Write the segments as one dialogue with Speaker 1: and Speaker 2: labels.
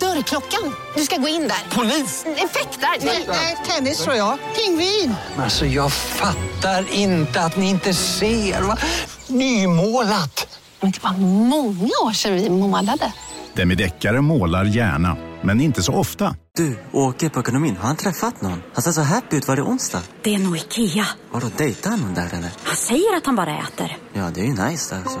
Speaker 1: Dörrklockan. Du ska gå in där. Polis? Effektar? Nej, tennis tror jag. Pingvin.
Speaker 2: Alltså jag fattar inte att ni inte ser. Va? Nymålat!
Speaker 3: Men det var många år sedan vi målade.
Speaker 4: Demideckare målar gärna, men inte så ofta.
Speaker 5: Du, åker på ekonomin. Har han träffat någon? Han ser så happy ut. Var det onsdag?
Speaker 6: Det är nog Ikea.
Speaker 5: Har du dejtat någon där eller?
Speaker 6: Han säger att han bara äter.
Speaker 5: Ja, det är ju nice där alltså.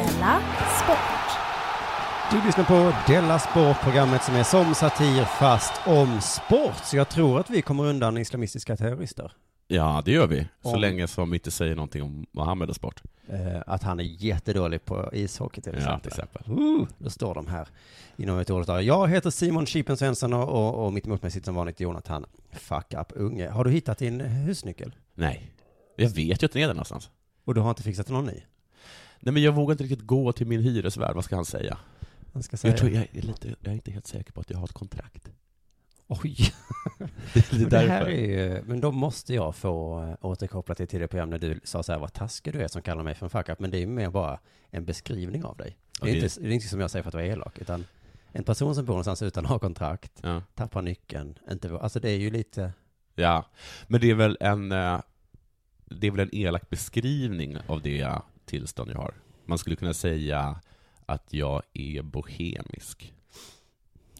Speaker 7: Della Sport.
Speaker 8: Du lyssnar på Della Sport, programmet som är som satir fast om sport. Så jag tror att vi kommer undan islamistiska terrorister.
Speaker 9: Ja, det gör vi. Så
Speaker 8: Om-
Speaker 9: länge som vi inte säger någonting om Mohammed och sport.
Speaker 8: Eh, att han är jättedålig på ishockey till
Speaker 9: Ja,
Speaker 8: exempel.
Speaker 9: till exempel.
Speaker 8: Uh, då står de här inom ett år. Jag heter Simon Chipen Svensson och, och, och mitt emot mig sitter som vanligt Jonathan Fuck Up Unge. Har du hittat din husnyckel?
Speaker 9: Nej. Jag vet ju att den är där någonstans.
Speaker 8: Och du har inte fixat någon ny?
Speaker 9: Nej, men jag vågar inte riktigt gå till min hyresvärd. Vad ska han säga?
Speaker 8: Han ska säga...
Speaker 9: Jag, tror, jag, är lite, jag är inte helt säker på att jag har ett kontrakt.
Speaker 8: Oj!
Speaker 9: Det är
Speaker 8: Men det här
Speaker 9: därför.
Speaker 8: är ju, men då måste jag få eh, återkoppla till tidigare program när du sa så här vad taskig du är som kallar mig för en fuck up, men det är ju mer bara en beskrivning av dig. Det är,
Speaker 9: Okej.
Speaker 8: inte, det är inte som jag säger för att vara elak, utan en person som bor någonstans utan att ha kontrakt,
Speaker 9: Ja.
Speaker 8: tappar nyckeln, inte, vå- alltså det är ju lite,
Speaker 9: ja. Men det är väl en... eh, Det är väl en elak beskrivning av det tillstånd jag har. Man skulle kunna säga att jag är bohemisk.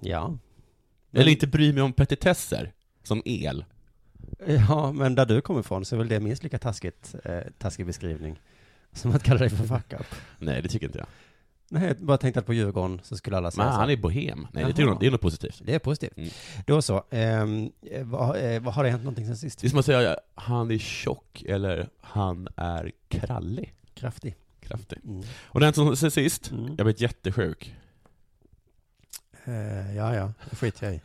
Speaker 8: ja.
Speaker 9: Eller inte bryr mig om petitesser, som el.
Speaker 8: Ja, men där du kommer ifrån så är väl det minst lika taskigt, eh, taskig beskrivning som att kalla dig för fuck up.
Speaker 9: Nej, det tycker inte jag.
Speaker 8: Nej, jag bara tänkte att på Djurgården så skulle alla säga
Speaker 9: Men
Speaker 8: så här,
Speaker 9: han är bohem. Nej, det, tycker
Speaker 8: Jaha.
Speaker 9: jag- det är något positivt.
Speaker 8: Det är positivt.
Speaker 9: Mm.
Speaker 8: Då så, ehm, eh, vad, eh, vad har det hänt någonting sen sist?
Speaker 9: Det är som att säga han är tjock eller han är krallig.
Speaker 8: Kraftig.
Speaker 9: Kraftig.
Speaker 8: Mm.
Speaker 9: Och den som sen sist,
Speaker 8: Mm.
Speaker 9: jag blev jättesjuk.
Speaker 8: Eh, ja, ja, det skiter jag i.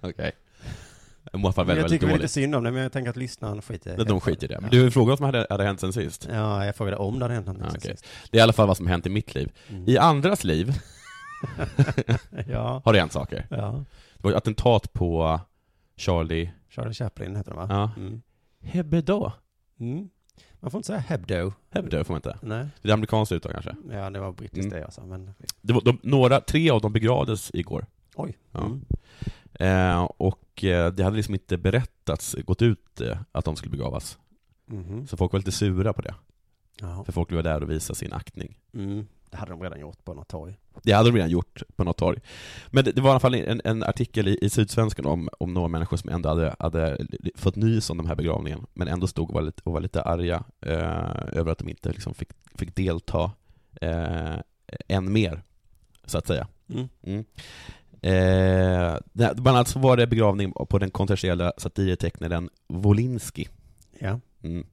Speaker 9: Okej. Jag mår fan väldigt,
Speaker 8: Men jag
Speaker 9: väldigt
Speaker 8: tycker väl
Speaker 9: dåligt.
Speaker 8: lite synd om det, men jag tänker att lyssnaren skiter
Speaker 9: Nej, De skiter i det.
Speaker 8: Ja.
Speaker 9: Men du frågade vad som hade, hade hänt sen sist.
Speaker 8: Ja, jag frågade om det hade hänt någonting
Speaker 9: Ja,
Speaker 8: sen
Speaker 9: okej.
Speaker 8: sist.
Speaker 9: Det är i alla fall vad som hänt i mitt liv.
Speaker 8: Mm.
Speaker 9: I andras liv
Speaker 8: Ja,
Speaker 9: har det hänt saker.
Speaker 8: ja.
Speaker 9: Det var ett attentat på Charlie
Speaker 8: Charlie Chaplin heter de va?
Speaker 9: Ja.
Speaker 8: Mm.
Speaker 9: Hebdo.
Speaker 8: Mm. Man får inte säga hebdo.
Speaker 9: Hebdo får man inte.
Speaker 8: Nej,
Speaker 9: Det är det amerikanska uttag kanske.
Speaker 8: ja, det var brittiskt
Speaker 9: Mm.
Speaker 8: det jag sa, men
Speaker 9: Det var, de, några, tre av dem begravdes igår.
Speaker 8: oj.
Speaker 9: Ja.
Speaker 8: Mm.
Speaker 9: Eh, och eh, det hade liksom inte berättats, gått ut eh, att de skulle begravas.
Speaker 8: Mhm.
Speaker 9: Så folk var lite sura på det.
Speaker 8: Ja.
Speaker 9: För folk var där och visade sin aktning.
Speaker 8: Mm. Det hade de redan gjort på något torg.
Speaker 9: Det hade de redan gjort på något torg. Men det, det var i alla fall en, en artikel i, i Sydsvenskan om, om några människor som ändå hade, hade fått nys om den här begravningen, men ändå stod och var lite, och var lite arga eh, över att de inte liksom fick, fick delta eh, än mer, så att säga.
Speaker 8: Mm.
Speaker 9: Mm. Eh, det- bland annat så var det begravning på den kontroversiella satiretecknaren Wolinski.
Speaker 8: Ja.
Speaker 9: Mm.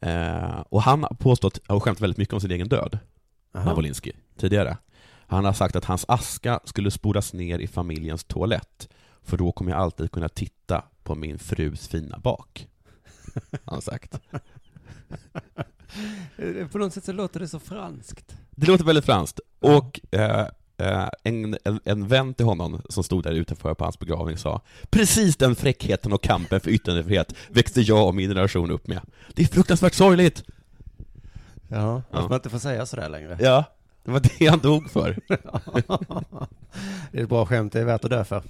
Speaker 9: Eh, och han har påstått, och skämt väldigt mycket om sin egen död,
Speaker 8: Aha.
Speaker 9: Mavolinski, tidigare. Han har sagt att hans aska skulle spolas ner i familjens toalett, för då kommer jag alltid kunna titta på min frus fina bak. Har han sagt.
Speaker 8: Eh, På något sätt så låter det så franskt.
Speaker 9: Det låter väldigt franskt. Och eh, eh, en, en, en vän till honom som stod där utanför på hans begravning sa Precis den fräckheten och kampen för yttrandefrihet växte jag och min generation upp med. Det är fruktansvärt sorgligt!
Speaker 8: Ja,
Speaker 9: Ja.
Speaker 8: att man inte får säga sådär längre.
Speaker 9: Ja, det var det han dog för.
Speaker 8: det är ett bra skämt, det är värt att dö för.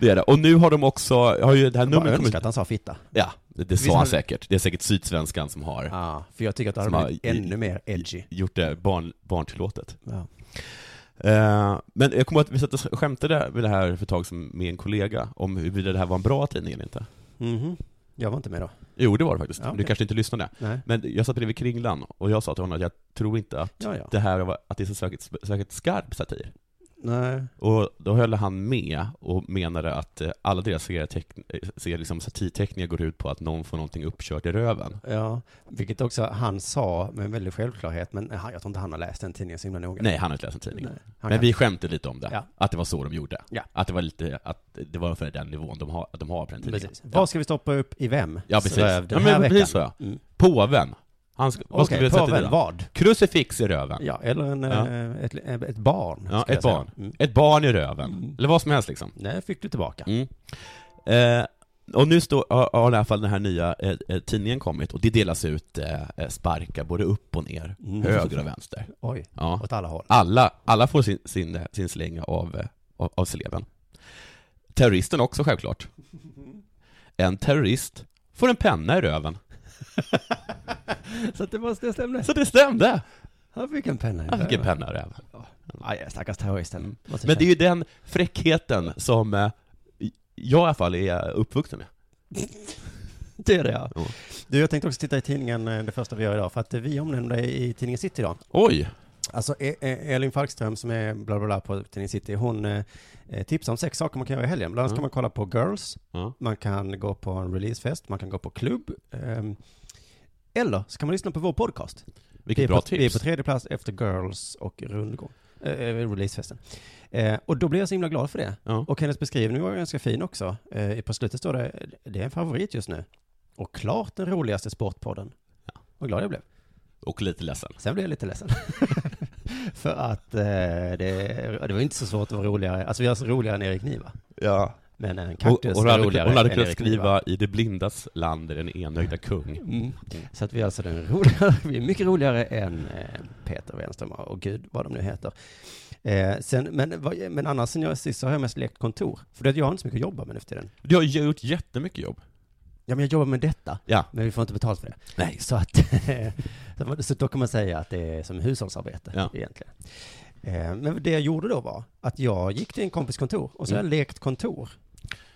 Speaker 9: Det är det. Och nu har de också, har ju det här
Speaker 8: Jag bara
Speaker 9: numret kommit
Speaker 8: önskar att han sa fitta.
Speaker 9: Ja, det, det
Speaker 8: Visst
Speaker 9: sa han
Speaker 8: har-
Speaker 9: säkert. Det är säkert Sydsvenskan som har
Speaker 8: Ja, för jag tycker att det hade
Speaker 9: Som har-
Speaker 8: blivit ännu mer edgy.
Speaker 9: gjort det barn, barntillåtet.
Speaker 8: Ja.
Speaker 9: Eh, men jag kommer ihåg att vi satt och skämtade med det här för ett tag sedan med en kollega om huruvida det här var en bra tidning eller inte.
Speaker 8: Mhm. Jag var inte med då.
Speaker 9: Jo, det var det faktiskt.
Speaker 8: Ja,
Speaker 9: Du
Speaker 8: okej.
Speaker 9: kanske inte lyssnade.
Speaker 8: Nej.
Speaker 9: Men jag satt bredvid Kringlan och jag sa till honom att jag tror inte att
Speaker 8: Ja, ja.
Speaker 9: det här var, att det är så särskilt, särskilt skarp satir.
Speaker 8: Nej.
Speaker 9: Och då höll han med och menade att eh, alla deras serieteck- eh, ser liksom satirteckningar går ut på att någon får någonting uppkört i röven.
Speaker 8: Ja, vilket också han sa med väldigt självklarhet, men han- jag tror inte han har läst den tidningen så himla noga.
Speaker 9: Nej, han har inte läst en tidning.
Speaker 8: Nej, han
Speaker 9: Men
Speaker 8: kan-
Speaker 9: vi skämtade lite om det,
Speaker 8: Ja.
Speaker 9: att det var så de gjorde.
Speaker 8: Ja.
Speaker 9: Att det var lite, att det var ungefär den nivån de har, att de har på den tidningen.
Speaker 8: Precis.
Speaker 9: Ja,
Speaker 8: Vad ska vi stoppa upp i vem?
Speaker 9: ja precis.
Speaker 8: Röv
Speaker 9: ja,
Speaker 8: den här
Speaker 9: men precis så.
Speaker 8: veckan? Mm.
Speaker 9: ja. Påven. Han ska, vad ska
Speaker 8: Okej,
Speaker 9: vi sätta i
Speaker 8: påven,
Speaker 9: den?
Speaker 8: vad?
Speaker 9: Crucifix i röven.
Speaker 8: Ja, eller en,
Speaker 9: Ja.
Speaker 8: eh, Ett, ett barn.
Speaker 9: Ja,
Speaker 8: skulle
Speaker 9: ett
Speaker 8: jag
Speaker 9: barn.
Speaker 8: säga. Mm.
Speaker 9: Ett barn i röven. Eller vad som helst liksom.
Speaker 8: Nej, fick du tillbaka.
Speaker 9: Mm. Eh, och nu står, har, har i alla fall den här nya eh, eh, tidningen kommit och det delas ut eh, eh, sparkar både upp och ner,
Speaker 8: Mm.
Speaker 9: höger och vänster.
Speaker 8: Oj,
Speaker 9: Ja.
Speaker 8: åt alla håll.
Speaker 9: Alla, alla får sin, sin, eh, sin släng av, eh, av, av celeben. Terroristen också självklart. En terrorist får en penna i röven.
Speaker 8: Så att det var det stämde.
Speaker 9: Så det stämde!
Speaker 8: Han fick en penna. i
Speaker 9: Han fick en
Speaker 8: röven.
Speaker 9: penna i röven.
Speaker 8: Aj, stackars terroristen. Vad ska
Speaker 9: Men
Speaker 8: jag
Speaker 9: det är ju den fräckheten som eh, jag i alla fall är uppvuxen med.
Speaker 8: Det är det ja.
Speaker 9: Jo.
Speaker 8: Du, jag tänkte också titta i tidningen eh, det första vi gör idag, för att eh, vi omnämner dig i tidningen City idag.
Speaker 9: Oj!
Speaker 8: Alltså E- E- Elin Falkström som är bla bla bla på tidningen City, hon eh, eh, tipsar om sex saker man kan göra i helgen. Bland annat
Speaker 9: Ja.
Speaker 8: kan man kolla på Girls,
Speaker 9: Ja.
Speaker 8: man kan gå på en releasefest, man kan gå på klubb, ehm, eller så kan man lyssna på vår podcast.
Speaker 9: Vilket
Speaker 8: vi är
Speaker 9: bra
Speaker 8: på, Vi är
Speaker 9: tips.
Speaker 8: på tredje plats efter Girls och Rundgång, eh, eh, releasefesten. Eh, och då blir jag så himla glad för det.
Speaker 9: Ja.
Speaker 8: Och hennes beskrivning var ganska fin också. Eh, på slutet står det, det är en favorit just nu. Och klart den roligaste sportpodden. Vad glad jag blev.
Speaker 9: Och lite ledsen.
Speaker 8: Sen blev jag lite ledsen. För att eh, det, det var inte så svårt att vara roligare. Alltså vi var så roligare än Erik Niva.
Speaker 9: Ja.
Speaker 8: Men eh, en kaktus
Speaker 9: hon
Speaker 8: är
Speaker 9: hade,
Speaker 8: roligare
Speaker 9: hon hade
Speaker 8: än
Speaker 9: kunnat
Speaker 8: Erik
Speaker 9: skriva i det blindas land är den enögda kung.
Speaker 8: Mm. Så att vi är alltså den roligare, vi är mycket roligare än eh, Peter Wenström och gud vad de nu heter. Eh, sen, men, vad- men annars sen jag sist så har jag mest lekt kontor. För det, jag har inte så mycket att jobba med nu för tiden.
Speaker 9: Du har ju gjort jättemycket jobb.
Speaker 8: Ja men jag jobbar med detta.
Speaker 9: Ja.
Speaker 8: Men vi får inte betalt för det.
Speaker 9: Nej.
Speaker 8: Så att, så- så då kan man säga att det är som hushållsarbete
Speaker 9: Ja.
Speaker 8: egentligen. Eh, Men det jag gjorde då var att jag gick till en kompis kontor och så har jag
Speaker 9: Mm.
Speaker 8: lekt kontor.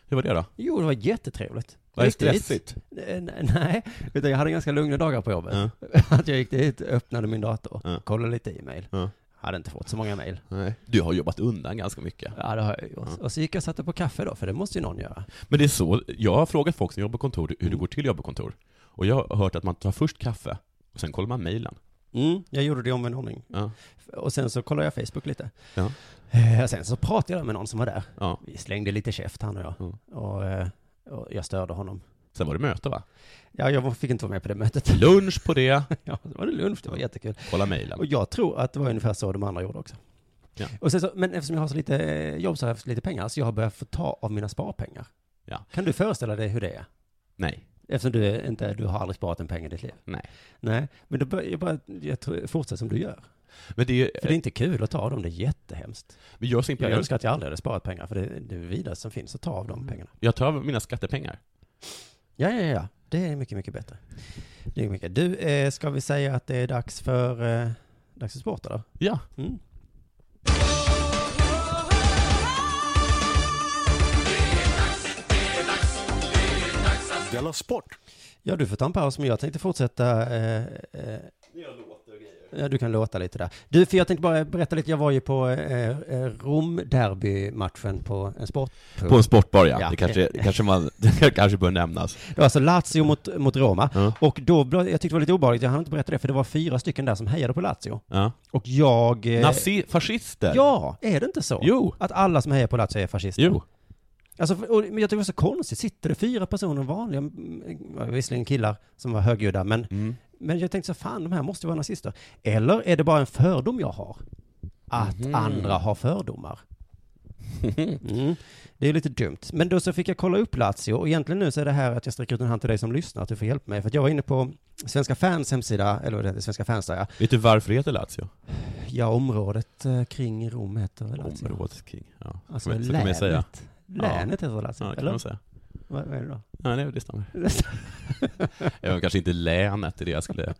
Speaker 9: Hur var det då?
Speaker 8: Jo, det var jättetrevligt.
Speaker 9: Var det
Speaker 8: Riktigt.
Speaker 9: stressigt?
Speaker 8: Eh, ne- Nej, utan jag hade ganska lugna dagar på jobbet.
Speaker 9: Ja.
Speaker 8: Att jag gick dit, öppnade min dator,
Speaker 9: Ja.
Speaker 8: kollade lite e-mail.
Speaker 9: Ja.
Speaker 8: Hade inte fått så många mejl.
Speaker 9: Nej. Du har jobbat undan ganska mycket.
Speaker 8: Ja, det har jag gjort.
Speaker 9: Ja.
Speaker 8: Och så gick jag och satte på kaffe då, för det måste ju någon göra.
Speaker 9: Men det är så, jag har frågat folk som jobbar på kontor hur det går till att jobba på kontor. Och jag har hört att man tar först kaffe, och sen kollar man mejlen.
Speaker 8: Mm, jag gjorde det i omvänd ordning.
Speaker 9: Ja.
Speaker 8: Och sen så kollade jag Facebook lite.
Speaker 9: Ja.
Speaker 8: Eh, Sen så pratade jag med någon som var där.
Speaker 9: ja.
Speaker 8: Vi slängde lite käft han och jag.
Speaker 9: Mm.
Speaker 8: Och, eh, och jag störde honom.
Speaker 9: Sen var det möte va?
Speaker 8: Ja, jag fick inte vara med på det mötet.
Speaker 9: Lunch på det,
Speaker 8: ja, det var det lunch, det var jättekul.
Speaker 9: kolla mejlen.
Speaker 8: Och jag tror att det var ungefär så de andra gjorde också.
Speaker 9: Ja.
Speaker 8: Och sen så, men eftersom jag har så lite eh, jobb så har jag haft lite pengar, så jag har börjat få ta av mina sparpengar.
Speaker 9: Ja.
Speaker 8: Kan du föreställa dig hur det är?
Speaker 9: Nej.
Speaker 8: Eftersom du är inte, du har aldrig sparat en peng i ditt liv.
Speaker 9: Nej.
Speaker 8: Nej, men då börjar jag bara, jag tror, fortsätt som du gör.
Speaker 9: Men det är ju,
Speaker 8: För det är inte kul att ta av dem, det är jättehemskt.
Speaker 9: men jag är så
Speaker 8: Jag
Speaker 9: imponerad.
Speaker 8: önskar att jag aldrig hade sparat pengar, för det är det vidare som finns att ta av de pengarna.
Speaker 9: Jag tar av mina skattepengar.
Speaker 8: Ja, ja, ja. Det är mycket, mycket bättre. Det är mycket. Du, eh, ska vi säga att det är dags för, eh, dags för sport eller?
Speaker 9: Ja.
Speaker 8: Mm.
Speaker 10: Della Sport!
Speaker 8: Ja, du får ta en paus, men jag tänkte fortsätta. Eh, eh, Ja, du kan låta lite där. Du, för jag tänkte bara berätta lite. Jag var ju på eh, eh, Rom-derbymatchen på en sport.
Speaker 9: På en sportbar ja.
Speaker 8: Ja.
Speaker 9: Det kanske, det kanske, man, det kanske bör nämnas.
Speaker 8: Det var alltså Lazio mot, mot Roma.
Speaker 9: Ja.
Speaker 8: Och då, blev- jag tyckte det var lite obehagligt, jag hann inte berätta det, för det var fyra stycken där som hejade på Lazio.
Speaker 9: Ja.
Speaker 8: Och jag... eh,
Speaker 9: Nazi, fascister?
Speaker 8: Ja, är det inte så?
Speaker 9: Jo.
Speaker 8: Att alla som hejar på Lazio är fascister?
Speaker 9: Jo.
Speaker 8: Alltså, för- och, men jag tycker det var så konstigt. Sitter det fyra personer, vanliga, mm, visserligen killar, som var högljudda, men,
Speaker 9: Mm.
Speaker 8: men jag tänkte så fan, de här måste ju vara nazister. Eller är det bara en fördom jag har? Att
Speaker 9: Mhm.
Speaker 8: andra har fördomar. Mm. Det är lite dumt. Men då så fick jag kolla upp Lazio, och egentligen nu så är det här att jag sträcker ut en hand till dig som lyssnar, att du får hjälpa mig. För att jag var inne på Svenska Fans hemsida, eller vad det heter, Svenska Fans där, ja.
Speaker 9: Vet du varför det heter Lazio?
Speaker 8: ja området eh, kring Rom heter väl Lazio?
Speaker 9: Områdeskrig. Ja. så
Speaker 8: Alltså
Speaker 9: kan man ju
Speaker 8: länet.
Speaker 9: säga.
Speaker 8: Länet heter Lazio,
Speaker 9: Ja, det kan
Speaker 8: eller?
Speaker 9: man säga.
Speaker 8: Vad, vad är det då?
Speaker 9: Ja, nej, det stämmer. Även kanske inte länet är det jag skulle...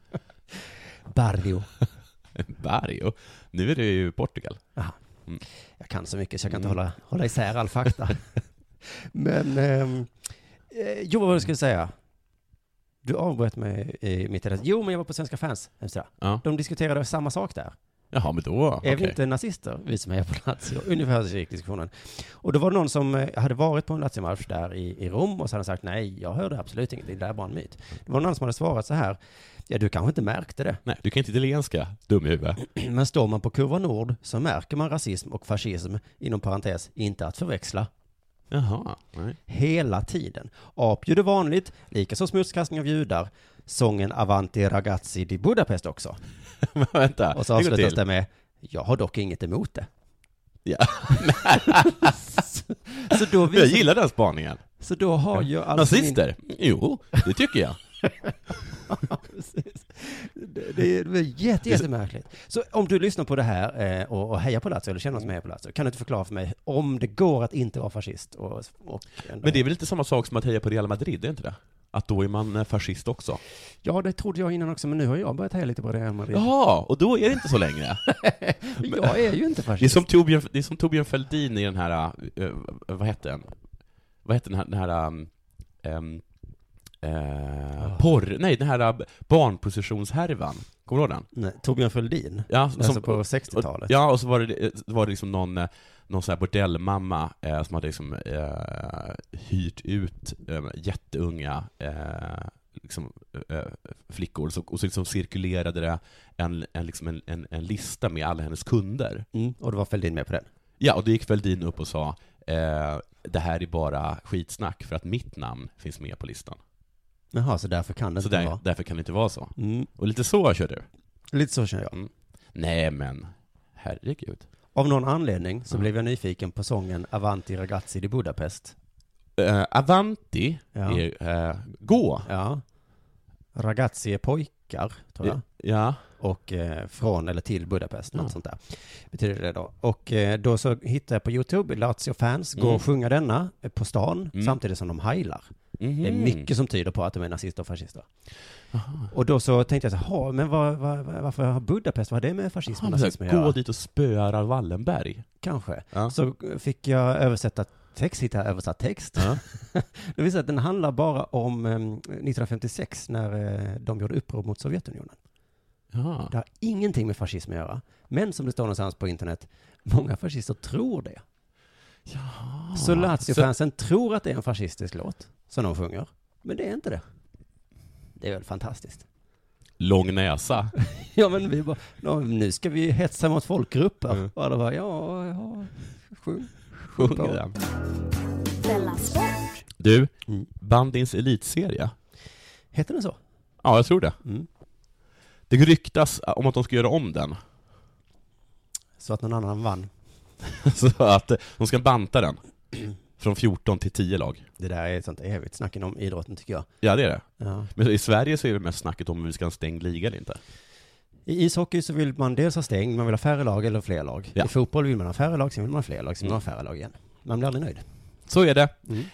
Speaker 8: Barrio.
Speaker 9: Barrio. Nu är det ju Portugal.
Speaker 8: Jag kan så mycket så jag kan
Speaker 9: Mm.
Speaker 8: inte hålla, hålla isär all fakta. Men, ehm, eh, jo vad var det jag skulle säga? Du avbröt mig i mitt i det. Jo, men jag var på Svenska fans hemsida.
Speaker 9: Ja.
Speaker 8: De diskuterade samma sak där.
Speaker 9: Jaha, men då.
Speaker 8: Är vi
Speaker 9: okej.
Speaker 8: inte nazister, vi som är på Lazio? Ungefär så gick diskussionen. Och då var det någon som eh, hade varit på en Lazio-match där i, i Rom och så hade han sagt nej, jag hörde absolut inget, det där är bara en myt. Det var någon som hade svarat så här, ja du kanske inte märkte det.
Speaker 9: Nej, du kan inte italienska, dum i huvudet.
Speaker 8: Men står man på kurva nord så märker man rasism och fascism, inom parentes, inte att förväxla.
Speaker 9: Jaha, nej.
Speaker 8: Hela tiden. Apljud är vanligt, likaså smutskastning av judar. Sången Avanti ragazzi di Budapest också.
Speaker 9: Men vänta,
Speaker 8: Och så
Speaker 9: det går
Speaker 8: avslutas
Speaker 9: till.
Speaker 8: det med, jag har dock inget emot det.
Speaker 9: Ja.
Speaker 8: så då visar-
Speaker 9: Jag gillar den spaningen.
Speaker 8: Så då har ju alltså
Speaker 9: Nazister? Jo, det tycker jag.
Speaker 8: Precis. Det, det är jätte, jättemärkligt. Så om du lyssnar på det här eh, och, och hejar på Lazio, eller känner någon som hejar på Lazio, kan du inte förklara för mig om det går att inte vara fascist? Och, och ändå-
Speaker 9: Men det är väl inte samma sak som att heja på Real Madrid, är inte det? Att då är man eh, fascist också?
Speaker 8: Ja, det trodde jag innan också, men nu har jag börjat heja lite på Real Madrid.
Speaker 9: Jaha, och då är det inte så längre?
Speaker 8: Men jag är ju inte
Speaker 9: Det är
Speaker 8: fascist.
Speaker 9: som Torbjörn, det är som Torbjörn Fälldin i den här, eh, vad hette den? Vad hette den här, den här um, porr, nej den här eh, barnpositionshärvan, kommer du ihåg den?
Speaker 8: Nej, Torbjörn Fälldin,
Speaker 9: Ja,
Speaker 8: alltså på 60-talet.
Speaker 9: Ja, och så var det, så var det liksom någon, eh, någon sån här bordellmamma eh, som hade liksom, eh, hyrt ut eh, jätteunga eh, liksom, eh, flickor, så, och så liksom cirkulerade det en, en, liksom en, en, en lista med alla hennes kunder.
Speaker 8: Mm, och det var Fälldin med på den.
Speaker 9: Ja, och då gick Fälldin upp och sa eh, det här är bara skitsnack för att mitt namn finns med på listan.
Speaker 8: Jaha, så därför kan det
Speaker 9: Så
Speaker 8: inte
Speaker 9: där,
Speaker 8: vara.
Speaker 9: därför kan det inte vara så.
Speaker 8: Mm,
Speaker 9: Och lite så kör du.
Speaker 8: lite så känner jag.
Speaker 9: Nej men, herregud.
Speaker 8: Av någon anledning så
Speaker 9: Mm.
Speaker 8: blev jag nyfiken på sången Avanti ragazzi di Budapest.
Speaker 9: Eh, Avanti
Speaker 8: Ja.
Speaker 9: är eh, gå.
Speaker 8: Ja. Ragazzi är pojkar, tror jag.
Speaker 9: Ja.
Speaker 8: och eh, från eller till Budapest, något
Speaker 9: Ja.
Speaker 8: sånt där. Betyder det då. Och eh, då så hittade jag på YouTube, Lazio fans, går
Speaker 9: Mm.
Speaker 8: och sjunga denna eh, på stan
Speaker 9: Mm.
Speaker 8: samtidigt som de heilar.
Speaker 9: Mhm.
Speaker 8: Det är mycket som tyder på att de är nazister och fascister. Och då så tänkte jag så här, "Ha, men vad, vad, vad- varför har Budapest, vad har det med fascism och
Speaker 9: Han
Speaker 8: nazism att
Speaker 9: försöker gå
Speaker 8: göra?
Speaker 9: dit och spöa Raoul Wallenberg.
Speaker 8: Kanske.
Speaker 9: Ja.
Speaker 8: Så eh, fick jag översätta text, hitta översatt text.
Speaker 9: Ja.
Speaker 8: Det visar att den handlar bara om eh, 1956 när eh, de gjorde uppror mot Sovjetunionen.
Speaker 9: Ja.
Speaker 8: Det har ingenting med fascism att göra. Men som det står någonstans på internet, många fascister tror det.
Speaker 9: Ah,
Speaker 8: Så Lazio-fansen tror att det är en fascistisk låt som de sjunger. Men det är inte det. Det är väl fantastiskt.
Speaker 9: Lång näsa.
Speaker 8: Ja men vi bara, "Nå, nu ska vi hetsa mot folkgrupper.
Speaker 9: Mm.
Speaker 8: Och alla bara, ja, ja, sjung.
Speaker 9: Sjunger den.
Speaker 7: Della Sport.
Speaker 9: Du,
Speaker 8: Mm.
Speaker 9: bandins elitserie.
Speaker 8: Heter den så?
Speaker 9: Ja, jag tror det.
Speaker 8: Mm.
Speaker 9: Det ryktas om att de ska göra om den.
Speaker 8: Så att någon annan vann.
Speaker 9: Så att eh, de ska banta den. Från 14 till 10 lag.
Speaker 8: Det där är ett sånt evigt snack inom idrotten tycker jag.
Speaker 9: Ja, det är det.
Speaker 8: Ja.
Speaker 9: Men i Sverige så är det mest snacket om vi ska ha en stängd liga eller inte.
Speaker 8: I ishockey så vill man dels ha stängd, man vill ha färre lag eller fler lag.
Speaker 9: Ja.
Speaker 8: I fotboll vill man ha färre lag, sen vill man ha fler lag, sen vill man ha färre lag igen. Man blir aldrig nöjd.
Speaker 9: Så är det.
Speaker 8: Mm.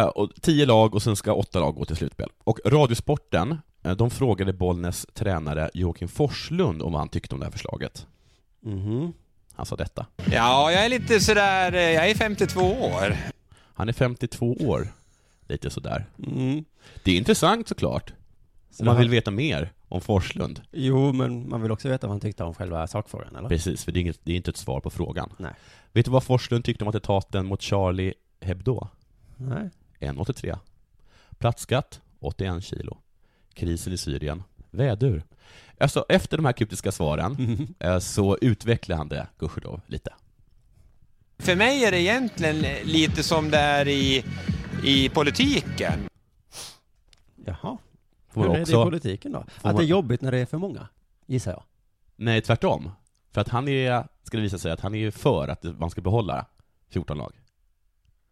Speaker 9: Eh, och 10 lag och sen ska åtta lag gå till slutspel. Och Radiosporten, eh, de frågade Bollnäs tränare Joakim Forslund om vad han tyckte om det här förslaget. Mm-hmm.
Speaker 8: Mhm.
Speaker 9: Han sa detta.
Speaker 2: Ja, jag är lite sådär, eh, jag är 52 år.
Speaker 9: Han är 52 år. Lite sådär.
Speaker 8: Mm.
Speaker 9: Det är intressant såklart.
Speaker 8: Så
Speaker 9: Om man
Speaker 8: det
Speaker 9: vill
Speaker 8: har-
Speaker 9: veta mer om Forslund.
Speaker 8: Jo, men man vill också veta vad han tyckte om själva sakfrågan, eller?
Speaker 9: Precis, för det är, inget, det är inte ett svar på frågan.
Speaker 8: Nej.
Speaker 9: Vet du vad Forslund tyckte om attentaten mot Charlie Hebdo?
Speaker 8: Nej.
Speaker 9: 1,83. Platsskatt 81 kilo. Krisen i Syrien. Vädur. Alltså, efter de här kryptiska svaren eh, så utvecklar han det, gudskelov, lite.
Speaker 2: För mig är det egentligen eh, lite som det är i, i politiken.
Speaker 8: Jaha.
Speaker 9: Får
Speaker 8: Hur
Speaker 9: man
Speaker 8: är det i
Speaker 9: också...
Speaker 8: politiken då? Att
Speaker 9: man-
Speaker 8: det är jobbigt när det är för många, gissar jag.
Speaker 9: Nej, tvärtom. För att han är, ska det visa sig, att han är ju för att man ska behålla 14 lag.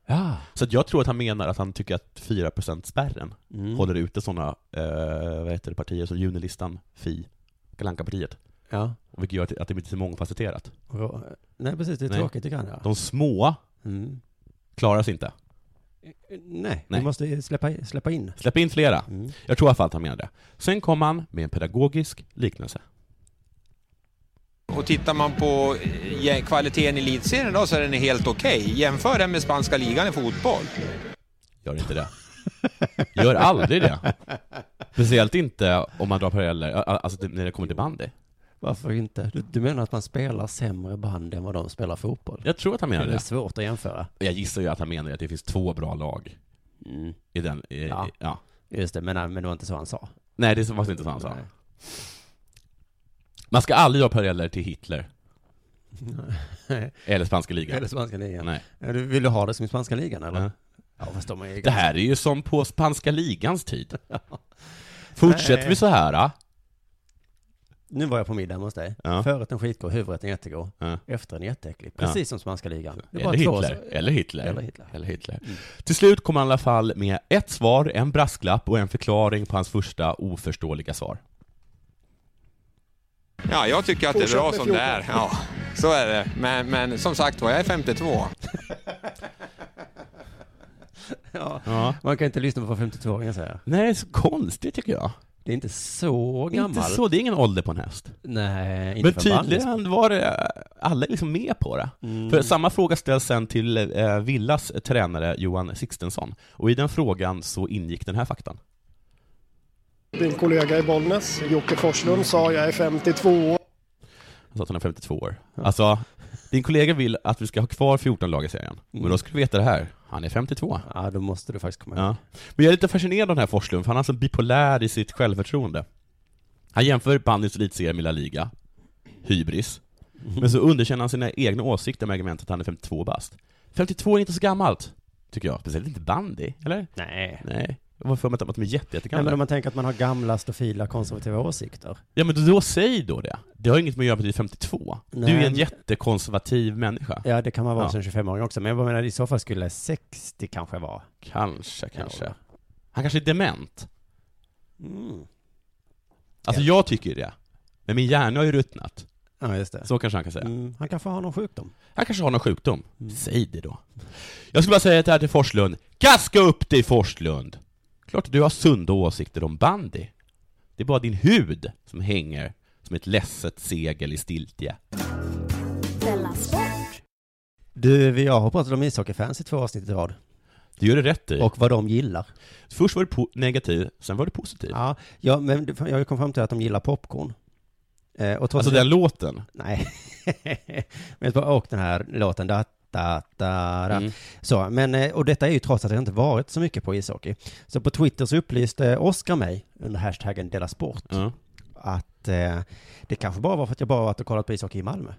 Speaker 8: Ja.
Speaker 9: Så att jag tror att han menar att han tycker att 4%-spärren
Speaker 8: Mm.
Speaker 9: håller ute sådana eh, vad heter det, partier som Junilistan, Fi, Kalle Anka-partiet.
Speaker 8: Ja.
Speaker 9: Och Vilket gör att det- att det blir lite mångfacetterat.
Speaker 8: Och- Nej, precis. Det är
Speaker 9: Nej.
Speaker 8: tråkigt, det kan jag.
Speaker 9: De små
Speaker 8: Mm.
Speaker 9: klarar sig inte.
Speaker 8: Nej,
Speaker 9: Nej.
Speaker 8: vi måste släppa, släppa in.
Speaker 9: Släpp in flera.
Speaker 8: Mm.
Speaker 9: Jag tror i alla fall att han menar det. Sen kom han med en pedagogisk liknelse.
Speaker 2: Och tittar man på eh, je- kvaliteten i elitserien då så är den helt okej. Jämför den med spanska ligan i fotboll.
Speaker 9: Gör inte det. Gör aldrig det. Speciellt inte om man drar paralleller, alltså när det kommer till bandy.
Speaker 8: Varför inte? Du, du menar att man spelar sämre band än vad de spelar fotboll?
Speaker 9: Jag tror att han menar
Speaker 8: det.
Speaker 9: det.
Speaker 8: är svårt att jämföra.
Speaker 9: Jag gissar ju att han menar att det finns två bra lag
Speaker 8: Mm.
Speaker 9: i den, i,
Speaker 8: Ja.
Speaker 9: i, ja.
Speaker 8: Just det, men, men det var inte så han sa.
Speaker 9: Nej, det var inte så han sa. Man ska aldrig dra paralleller till Hitler. Eller spanska ligan.
Speaker 8: Eller spanska ligan.
Speaker 9: Nej.
Speaker 8: Ja, du, vill du ha det som i spanska ligan eller?
Speaker 9: Ja.
Speaker 8: Ja, fast de är ju
Speaker 9: Det här är ju som på spanska ligans tid. Fortsätter
Speaker 8: Nej.
Speaker 9: vi så här, ah?
Speaker 8: Nu var jag på middag hemma hos dig.
Speaker 9: Ja.
Speaker 8: Förrätten skitgod, huvudrätten jättegod.
Speaker 9: Ja.
Speaker 8: Efterrätten jätteäcklig.
Speaker 9: Ja.
Speaker 8: Precis som spanska ligan. Det är bara
Speaker 9: Eller
Speaker 8: två
Speaker 9: Hitler.
Speaker 8: som-
Speaker 9: Eller Hitler.
Speaker 8: Eller Hitler. Mm.
Speaker 9: Eller Hitler. Till slut kom han i alla fall med ett svar, en brasklapp och en förklaring på hans första oförståeliga svar.
Speaker 11: Ja, jag tycker att det är bra som det är. Ja, så är det. Men, men som sagt var, jag är 52.
Speaker 8: Ja.
Speaker 9: Ja.
Speaker 8: Man kan inte lyssna på vad 52-åringar säger.
Speaker 9: Nej, det är så konstigt tycker jag.
Speaker 8: Det är inte så gammal.
Speaker 9: Inte så, det är ingen ålder på en häst.
Speaker 8: Nej, inte
Speaker 9: Men
Speaker 8: för bandy.
Speaker 9: tydligen var det, alla är liksom med på det.
Speaker 8: Mm.
Speaker 9: För samma fråga ställs sen till eh, Villas tränare Johan Sixtensson, och i den frågan så ingick den här faktan.
Speaker 12: Din kollega i Bollnäs, Jocke Forslund, sa jag är 52 år.
Speaker 9: Han sa att han är 52 år. Alltså, din kollega vill att vi ska ha kvar 14 lag i
Speaker 8: Mm.
Speaker 9: serien, men då ska du veta det här, han är 52.
Speaker 8: Ja, då måste du faktiskt komma ihåg.
Speaker 9: Ja. Men jag är lite fascinerad av den här Forslund, för han är alltså bipolär i sitt självförtroende. Han jämför bandyns elitserie med La Liga, hybris, men så underkänner han sina egna åsikter med argumentet att han är 52 bast. 52 är inte så gammalt, tycker jag. Speciellt inte bandy, eller?
Speaker 8: Nej.
Speaker 9: Nej. Jag var för mig att de är jätte,
Speaker 8: Nej, men
Speaker 9: jättegamla.
Speaker 8: om man tänker att man har gamla, stofila, konservativa åsikter.
Speaker 9: Ja men då säg då det. Det har inget med att göra med att du är 52. Du
Speaker 8: Nej.
Speaker 9: är en jättekonservativ människa.
Speaker 8: Ja, det kan man vara
Speaker 9: Ja.
Speaker 8: som 25-åring också. Men jag bara menar, i så fall skulle 60 kanske vara.
Speaker 9: Kanske, kanske. Han kanske är dement.
Speaker 8: Mm.
Speaker 9: Alltså jag tycker det. Men min hjärna har ju ruttnat.
Speaker 8: Ja, just det.
Speaker 9: Så kanske han kan säga.
Speaker 8: Mm, han kanske har någon sjukdom.
Speaker 9: Han kanske har någon sjukdom. Säg det då. Jag skulle bara säga det här till Forslund. Gaska upp dig Forslund! Klart att du har sunda åsikter om bandy. Det är bara din hud som hänger som ett ledset segel i stiltje.
Speaker 7: Della Sport.
Speaker 8: Du, vi- jag har pratat om ishockeyfans i två avsnitt i rad.
Speaker 9: Du gör det rätt i.
Speaker 8: Och vad de gillar.
Speaker 9: Typ. Först var du po- negativ, sen var du positiv. Alltså,
Speaker 8: Ja, ja men det- jag kom fram till att de gillar popcorn. Eh, och trots
Speaker 9: Alltså den låten.
Speaker 8: Nej. men, och den här låten, da, da, da, da.
Speaker 9: Mm.
Speaker 8: Så, men, eh, och detta är ju trots att jag inte varit så mycket på ishockey. Så på Twitter så upplyste Oskar mig under hashtaggen Dela Sport
Speaker 9: Ja.
Speaker 8: att eh, det kanske bara var för att jag bara varit och kollat på ishockey i Malmö.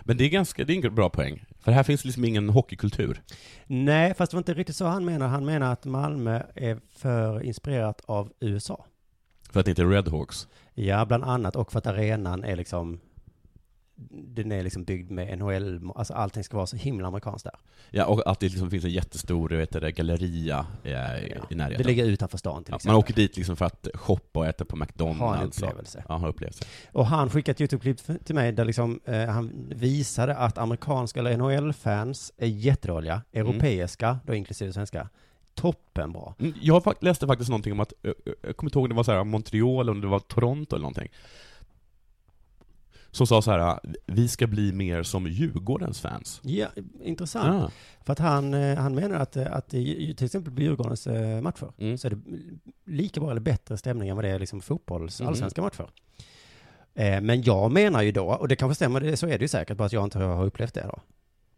Speaker 9: Men det är ganska, det är en bra poäng. För här finns liksom ingen hockeykultur.
Speaker 8: Nej, fast det var inte riktigt så han menar. Han menar att Malmö är för inspirerat av USA.
Speaker 9: För att det inte är Redhawks.
Speaker 8: Ja, bland annat. Och för att arenan är liksom den är liksom byggd med NHL, alltså allting ska vara så himla amerikanskt där.
Speaker 9: Ja, och att det liksom finns en jättestor, vad heter det, galleria eh, i närheten.
Speaker 8: Det ligger utanför stan till
Speaker 9: Ja,
Speaker 8: exempel.
Speaker 9: man åker dit alltså. liksom för att shoppa och äta på McDonalds.
Speaker 8: Ha en upplevelse.
Speaker 9: Ja, ha en upplevelse.
Speaker 8: Och han skickade ett YouTube-klipp för- till mig där liksom, eh, han visade att amerikanska eller NHL-fans är
Speaker 9: Mm.
Speaker 8: jättedåliga, europeiska, då inklusive svenska, toppenbra.
Speaker 9: Mm, Jag fak- läste faktiskt någonting om att, eh, eh, jag kommer inte ihåg om det var så här Montreal eller om det var Toronto eller någonting. Som sa så här, vi ska bli mer som Djurgårdens fans.
Speaker 8: Ja, intressant.
Speaker 9: Ah.
Speaker 8: För att han, eh, han menar att, eh, att i, i till exempel på Djurgårdens eh, matcher
Speaker 9: Mm.
Speaker 8: så är det lika bra eller bättre stämning än vad det är liksom fotbolls,
Speaker 9: Mhm.
Speaker 8: allsvenska matcher. Eh, Men jag menar ju då, och det kanske stämmer, det- så är det ju säkert, bara att jag inte har upplevt det då.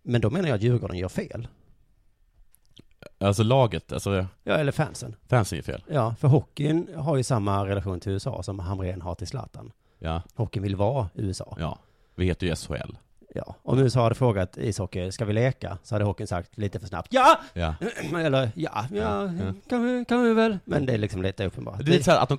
Speaker 8: Men då menar jag att Djurgården gör fel.
Speaker 9: Alltså laget, alltså
Speaker 8: Ja, eller fansen.
Speaker 9: fansen är fel.
Speaker 8: Ja, för hockeyn har ju samma relation till USA som Hamrén har till Zlatan.
Speaker 9: Ja,
Speaker 8: Hockeyn vill vara USA.
Speaker 9: ja. Vi heter ju SHL.
Speaker 8: Ja. Om USA hade frågat ishockey, ska vi leka? Så hade hockeyn sagt lite för snabbt, ja!
Speaker 9: Ja.
Speaker 8: Eller ja, ja,
Speaker 9: Ja.
Speaker 8: Kan, vi, kan vi väl? Men det är liksom lite uppenbart.
Speaker 9: Det är lite så här att de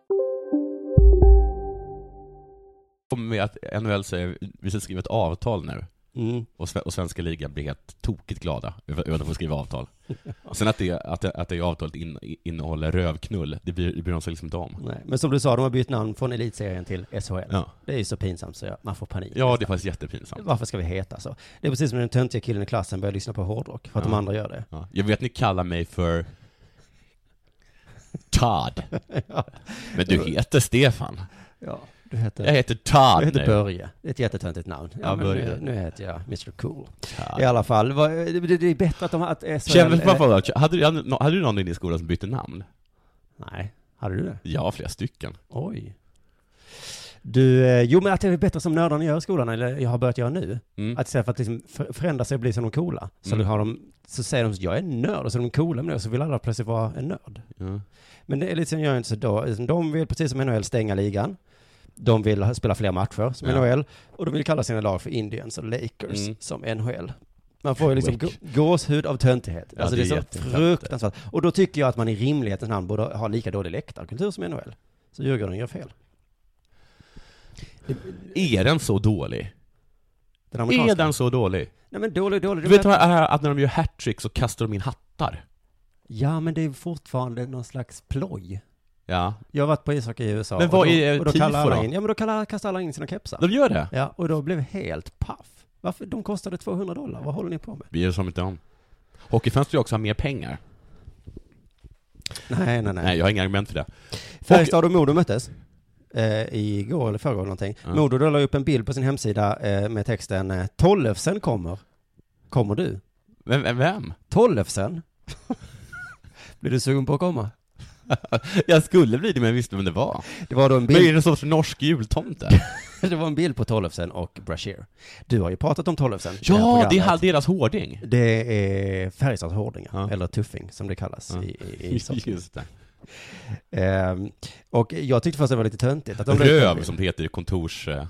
Speaker 9: kommer med att NHL säger vi ska skriva ett avtal nu.
Speaker 8: Mm.
Speaker 9: Och, sve- och svenska ligan blir helt tokigt glada över över att de får skriva avtal. Sen att det, att det, att det avtalet in, innehåller rövknull, det bryr, det bryr de sig liksom inte om.
Speaker 8: Nej, men som du sa, de har bytt namn från elitserien till SHL.
Speaker 9: Ja.
Speaker 8: Det är ju så pinsamt så jag, man får panik.
Speaker 9: Ja, det är faktiskt jättepinsamt.
Speaker 8: Varför ska vi heta så? Det är precis som när den töntiga killen i klassen börjar lyssna på hårdrock, för att de
Speaker 9: Ja.
Speaker 8: andra gör det.
Speaker 9: Ja. Jag vet ni kallar mig för Todd. Men du heter Stefan.
Speaker 8: Ja, du heter...
Speaker 9: Jag heter Todd
Speaker 8: Jag heter
Speaker 9: nu.
Speaker 8: Börje. Det är ett jättetöntigt namn. Ja,
Speaker 9: Ja,
Speaker 8: men
Speaker 9: Börje.
Speaker 8: nu, nu heter jag Mr Cool. I alla fall, vad- det, det det är bättre att de har... Att SHL,
Speaker 9: Känner, varför, hade, du- hade, hade du någon i din skola som bytte namn?
Speaker 8: Nej, hade du det?
Speaker 9: Ja, flera stycken.
Speaker 8: Oj. Du, eh, jo men att det är bättre som nördarna gör i skolan, eller jag har börjat göra nu.
Speaker 9: Mm.
Speaker 8: Att istället för att liksom för- förändra sig och bli som de coola, så,
Speaker 9: Mm.
Speaker 8: har de, så säger de jag är en nörd, och så är de coola med det, och så vill alla plötsligt vara en nörd.
Speaker 9: Ja.
Speaker 8: Men det är lite som jag inte så då, Utan de vill precis som NHL stänga ligan. De vill ha- spela fler matcher som
Speaker 9: Ja.
Speaker 8: NHL, och de vill kalla sina lag för Indians och Lakers
Speaker 9: Mm.
Speaker 8: som NHL. Man får ju liksom gå- gåshud av töntighet.
Speaker 9: Ja,
Speaker 8: alltså
Speaker 9: det
Speaker 8: det är,
Speaker 9: är
Speaker 8: så
Speaker 9: jättetöntigt.
Speaker 8: fruktansvärt. Och då tycker jag att man i rimlighetens namn borde ha lika dålig läktarkultur som NHL. Så Djurgården gör fel.
Speaker 9: Är den så dålig?
Speaker 8: Den
Speaker 9: Är
Speaker 8: amerikanska...
Speaker 9: den så dålig?
Speaker 8: Nej men dålig, dålig.
Speaker 9: Du
Speaker 8: det
Speaker 9: vet
Speaker 8: var-
Speaker 9: vad det är att när de gör hattrick så kastar de in hattar?
Speaker 8: Ja men det är fortfarande någon slags ploj.
Speaker 9: Ja.
Speaker 8: Jag har varit på ishockey i USA.
Speaker 9: Men
Speaker 8: och
Speaker 9: vad
Speaker 8: då-
Speaker 9: är
Speaker 8: och då
Speaker 9: tifo
Speaker 8: kallar alla
Speaker 9: då?
Speaker 8: in, Ja men då kallar, kastar alla in sina kepsar.
Speaker 9: De gör det?
Speaker 8: Ja, och då blev jag helt paff. Varför? De kostade 200 dollar. Vad håller ni på med?
Speaker 9: Vi gör som inte om. Hockeyfans vill ju också ha mer pengar.
Speaker 8: Nej, nej, nej.
Speaker 9: Nej, jag har inga argument för det.
Speaker 8: Färjestad och Modo möttes. Eh, igår eller förrgår eller någonting.
Speaker 9: Ja.
Speaker 8: Modo då la upp en bild på sin hemsida eh, med texten eh, Tollefsen kommer. Kommer du?
Speaker 9: Vem? vem, vem?
Speaker 8: Tollefsen? Blir du sugen på att komma?
Speaker 9: jag skulle bli det, men jag visste vem det var.
Speaker 8: Det var då en
Speaker 9: Men är det
Speaker 8: bild,
Speaker 9: en sorts norsk jultomte?
Speaker 8: det var en bild på Tollefsen och Brashear. Du har ju pratat om Tollefsen. i det här
Speaker 9: ja, det
Speaker 8: programmet.
Speaker 9: är deras hårding.
Speaker 8: Det är Färjestads hårdingar,
Speaker 9: Ja.
Speaker 8: eller tuffing som det kallas i, i, i ishockey.
Speaker 9: Just det.
Speaker 8: Ehm, och jag tyckte först att det var lite töntigt att de
Speaker 9: Röv, som det heter i kontors... eh,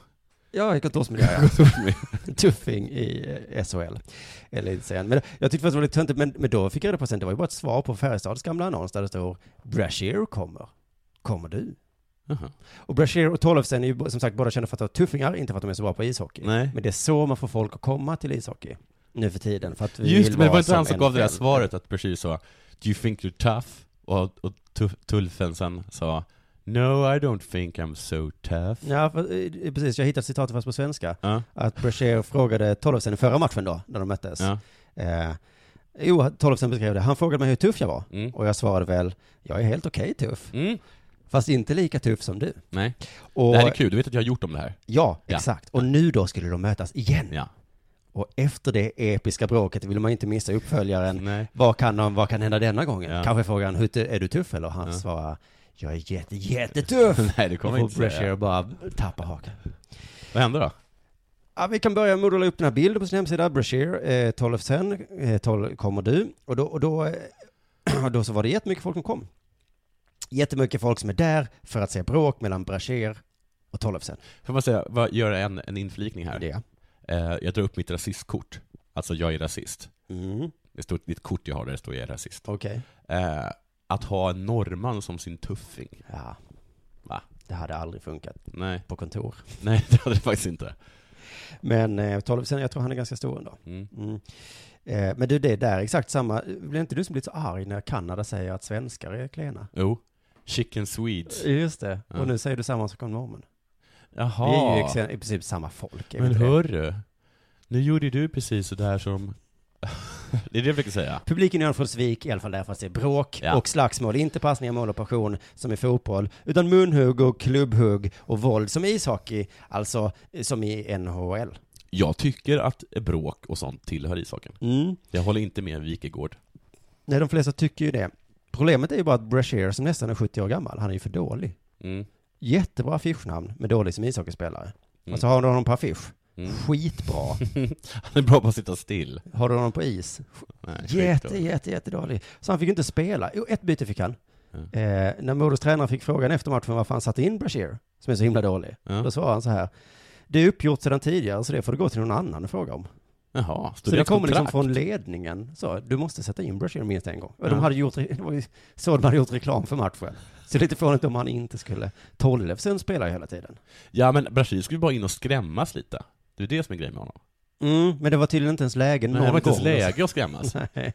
Speaker 8: Ja, i kontorsmiljö. ja.
Speaker 9: kontorsmiljö.
Speaker 8: Tuffing i eh, SHL. Eller inte säga. Men jag tyckte först det var lite töntigt, men, men då fick jag reda på sen, det var ju bara ett svar på Färjestads gamla annons där det står Brashear kommer. Kommer du?
Speaker 9: Jaha.
Speaker 8: Och Brashear och Tollefsen är ju bo- som sagt båda kända för att vara tuffingar, inte för att de är så bra på ishockey.
Speaker 9: Nej.
Speaker 8: Men det är så man får folk att komma till ishockey nu för tiden. För att vi
Speaker 9: Just
Speaker 8: vill
Speaker 9: det, men det
Speaker 8: vara
Speaker 9: var inte han som gav det där
Speaker 8: NFL.
Speaker 9: svaret att Bashir sa Do you think you're tough? Och, och Tu- Tulfen sen sa No, I don't think I'm so tough.
Speaker 8: Ja, för, eh, precis. Jag hittade citatet fast på svenska.
Speaker 9: Ja.
Speaker 8: Att Brashear frågade Tollefsen i förra matchen då, när de möttes.
Speaker 9: Ja.
Speaker 8: Eh, jo, Tollefsen beskrev det. Han frågade mig hur tuff jag var.
Speaker 9: Mm.
Speaker 8: Och jag svarade väl, jag är helt okej tuff.
Speaker 9: Mm.
Speaker 8: Fast inte lika tuff som du.
Speaker 9: Nej.
Speaker 8: Och,
Speaker 9: Det här är kul, du vet att jag har gjort om det här?
Speaker 8: Ja,
Speaker 9: Ja.
Speaker 8: exakt. Och nu då skulle de mötas igen.
Speaker 9: Ja.
Speaker 8: Och efter det episka bråket vill man inte missa uppföljaren.
Speaker 9: Nej.
Speaker 8: Vad kan, de, vad kan hända denna gången?
Speaker 9: Ja.
Speaker 8: Kanske frågan, hur, tu- är du tuff? Eller han svarar, jag är jätte, jättetuff.
Speaker 9: Nej, det kommer jag
Speaker 8: och
Speaker 9: inte säga.
Speaker 8: Brashear bara tappar hakan.
Speaker 9: Vad hände då?
Speaker 8: Ja, vi kan börja med att rulla upp den här bilden på sin hemsida, Brashear, eh, 12 sen, eh, 12 kommer du. Och då, och då, eh, och då så var det jättemycket folk som kom. Jättemycket folk som är där för att se bråk mellan Brashear och Tollefsen.
Speaker 9: Får man säga, vad, göra en, en inflikning här?
Speaker 8: Ja.
Speaker 9: Eh, jag drar upp mitt rasistkort. Alltså, jag är rasist.
Speaker 8: Mm,
Speaker 9: Det står ett kort jag har där det står jag är rasist.
Speaker 8: okej.
Speaker 9: Eh, att ha en norrman som sin tuffing.
Speaker 8: Ja,
Speaker 9: Va?
Speaker 8: det hade aldrig funkat
Speaker 9: Nej,
Speaker 8: på kontor.
Speaker 9: nej det hade det faktiskt inte.
Speaker 8: Men eh, Tollefsen, jag tror han är ganska stor ändå.
Speaker 9: Mm.
Speaker 8: Mm. Eh, men du, det är där exakt samma. Blir inte du som blir så arg när Kanada säger att svenskar är klena?
Speaker 9: Jo. Chicken Swedes.
Speaker 8: Just det.
Speaker 9: Ja.
Speaker 8: Och nu säger du samma sak om normen. Vi
Speaker 9: Jaha.
Speaker 8: är ju exen- i princip samma folk. är vi
Speaker 9: Men
Speaker 8: inte det?
Speaker 9: hörru, nu gjorde ju du precis sådär som... det är det jag försöker säga.
Speaker 8: Publiken i Örnsköldsvik, i alla fall där fast det är bråk
Speaker 9: Ja.
Speaker 8: och slagsmål, inte passningar, mål och passion som i fotboll, utan munhugg och klubbhugg och våld som i ishockey, alltså eh, som i NHL.
Speaker 9: Jag tycker att bråk och sånt tillhör ishockeyn.
Speaker 8: Mm.
Speaker 9: Jag håller inte med Wikegård.
Speaker 8: Nej, de flesta tycker ju det. Problemet är ju bara att Brashear, som nästan är 70 år gammal, han är ju för dålig.
Speaker 9: Mm.
Speaker 8: Jättebra affischnamn, men dålig som ishockeyspelare.
Speaker 9: Mm.
Speaker 8: Och så har du honom på affisch,
Speaker 9: Mm.
Speaker 8: skitbra.
Speaker 9: Han är bra på att sitta still.
Speaker 8: Har du honom på is,
Speaker 9: Nej, skit
Speaker 8: Jätte,
Speaker 9: då.
Speaker 8: jätte, jättedålig. Så han fick ju inte spela. Jo, ett byte fick han. Eh, när Modos tränare fick frågan efter matchen varför han satte in Brashear, som är så himla dålig, då svarade han så här. Det är uppgjort sedan tidigare, så det får du gå till någon annan och fråga om.
Speaker 9: Jaha,
Speaker 8: Så det kommer liksom från ledningen, så du måste sätta in Brashear minst en gång. Och De
Speaker 9: Ja.
Speaker 8: hade gjort, re- det var ju så de hade gjort reklam för matchen. Så lite förvånande om han inte skulle, Tollefsen spelar ju hela tiden.
Speaker 9: Ja, men Brasil skulle bara in och skrämmas lite. Det är det som är grejen med honom.
Speaker 8: Mm, men det var tydligen inte ens läge
Speaker 9: Nej,
Speaker 8: någon
Speaker 9: det var inte
Speaker 8: gång.
Speaker 9: ens läge alltså. att skrämmas.
Speaker 8: Nej.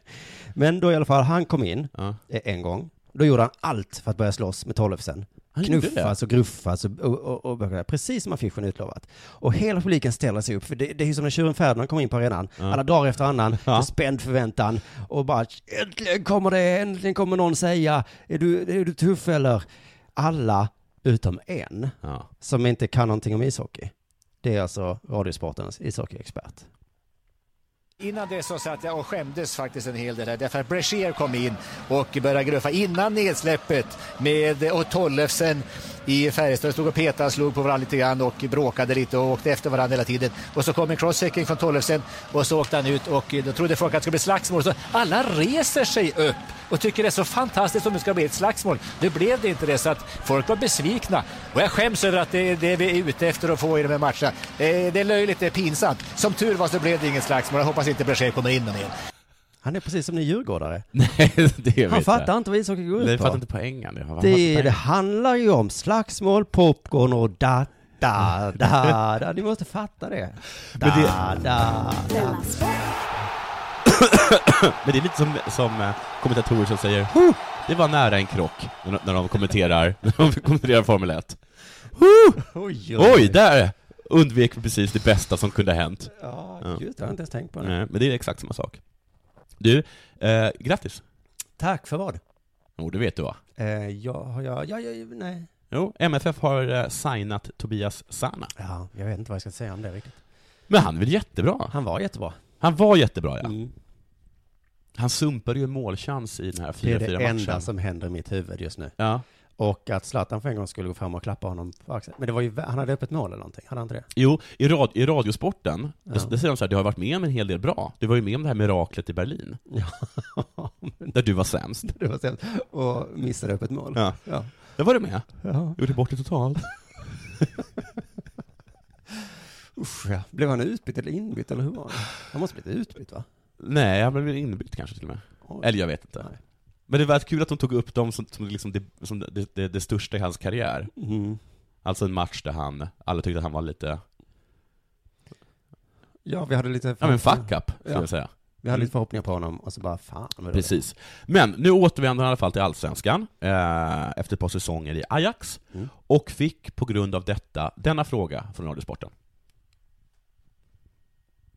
Speaker 8: Men då i alla fall, han kom in eh, en gång. Då gjorde han allt för att börja slåss med Tollefsen.
Speaker 9: Han gjorde
Speaker 8: Knuffas och gruffas och, och, och, och började- precis som affischen utlovat. Och hela publiken ställer sig upp, för det, det är ju som när tjuren Ferdinand kommer in på arenan. Alla dagar efter annan,
Speaker 9: Ja.
Speaker 8: ja. spänd förväntan och bara äntligen kommer det, äntligen kommer någon säga, är du, är du tuff eller? Alla utom en, som inte kan någonting om ishockey. Det är alltså Radiosportens ishockeyexpert.
Speaker 13: Innan det så satt jag och skämdes faktiskt en hel del här, därför att Brecher kom in och började gruffa innan nedsläppet med och Tollefsen i Färjestad stod och petade, slog på varandra lite grann och bråkade lite och åkte efter varandra hela tiden. Och så kom en crosschecking från Tollefsen och så åkte han ut och då trodde folk att det skulle bli slagsmål. Så alla reser sig upp och tycker det är så fantastiskt om det ska bli ett slagsmål. Nu blev det inte det så att folk var besvikna och jag skäms över att det är det vi är ute efter att få i de här matcherna. Eh, Det är löjligt, det är pinsamt. Som tur var så blev det inget slagsmål. Jag hoppas inte Brecher kommer in någon igen.
Speaker 8: Han är precis som ni djurgårdare.
Speaker 9: Nej, det
Speaker 8: han fattar inte vad ishockey går ut på.
Speaker 9: Nej, fattar inte poängen. Det, han fattar
Speaker 8: Det,
Speaker 9: poängen.
Speaker 8: det handlar ju om slagsmål, popcorn och da, da, da, da. Ni måste fatta det. Da,
Speaker 9: Men det-
Speaker 8: da, da.
Speaker 9: Men det är lite som, som eh, kommentatorer som säger "Huh, det var nära en krock när de, när de kommenterar, när de kommenterar Formel 1. Huh!
Speaker 8: Oj, oj, oj.
Speaker 9: oj, där undvek vi precis det bästa som kunde ha hänt.
Speaker 8: Ja, just det, jag har inte ens tänkt på det.
Speaker 9: Nej, men det är exakt samma sak. Du, eh, grattis.
Speaker 8: Tack för vad?
Speaker 9: Jo, det vet du va?
Speaker 8: Eh, ja, ja, ja, ja, nej.
Speaker 9: Jo, MFF har eh, signat Tobias Sana.
Speaker 8: Ja, jag vet inte vad jag ska säga om det riktigt.
Speaker 9: Men han är väl jättebra?
Speaker 8: Han var jättebra. Mm.
Speaker 9: Han var jättebra, ja. Han sumpade ju en målchans i den här
Speaker 8: Det är
Speaker 9: 4-4-matchen.
Speaker 8: det enda som händer i mitt huvud just nu.
Speaker 9: Ja.
Speaker 8: Och att Zlatan för en gång skulle gå fram och klappa honom på axeln. Men det var ju, vä- han hade öppet mål eller någonting, hade han inte det?
Speaker 9: Jo, i, rad, i Radiosporten,
Speaker 8: Ja.
Speaker 9: där, där säger de så här, du har varit med om en hel del bra. Du var ju med om det här miraklet i Berlin. Där du var sämst.
Speaker 8: Det var sämst. Och missade öppet mål.
Speaker 9: Ja.
Speaker 8: Ja.
Speaker 9: Där var du med.
Speaker 8: Ja.
Speaker 9: Gjorde bort det totalt.
Speaker 8: Usch, ja. Blev han utbytt eller inbytt eller hur var han? Han måste blivit utbytt va?
Speaker 9: Nej, han blev väl inbytt kanske till och med.
Speaker 8: Oj.
Speaker 9: Eller jag vet inte. Men det var kul att de tog upp dem som, som, liksom det, som det, det, det största i hans karriär.
Speaker 8: Mm.
Speaker 9: Alltså en match där han, alla tyckte att han var lite,
Speaker 8: Ja, vi hade lite...
Speaker 9: ja men fuck up, skulle jag säga.
Speaker 8: Vi hade
Speaker 9: Mm.
Speaker 8: lite förhoppningar på honom och så bara fan vad det var.
Speaker 9: Precis. Men nu återvänder han i alla fall till Allsvenskan, eh, efter ett par säsonger i Ajax,
Speaker 8: Mm.
Speaker 9: och fick på grund av detta, denna fråga från Radiosporten.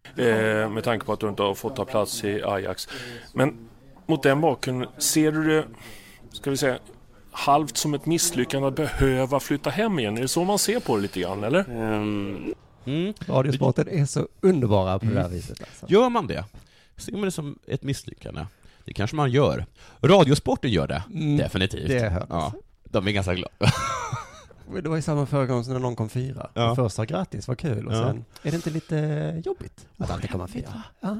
Speaker 14: Eh, med tanke på att du inte har fått ta plats i Ajax. Men mot den bakgrunden, ser du det, ska vi säga, halvt som ett misslyckande att behöva flytta hem igen? Är det så man ser på det lite grann, eller?
Speaker 9: Mm.
Speaker 8: Ehm. Radiosporten är så underbara på det här
Speaker 9: Mm.
Speaker 8: viset alltså.
Speaker 9: Gör man det? Ser man det som ett misslyckande? Det kanske man gör. Radiosporten gör det,
Speaker 8: Mm,
Speaker 9: definitivt.
Speaker 8: det hörs.
Speaker 9: ja, De är ganska glada.
Speaker 8: Det var ju samma förra gången som när någon kom fyra.
Speaker 9: Ja.
Speaker 8: Den Första grattis, vad kul. Och
Speaker 9: Ja.
Speaker 8: sen, är det inte lite jobbigt att alltid komma fyra? Ja.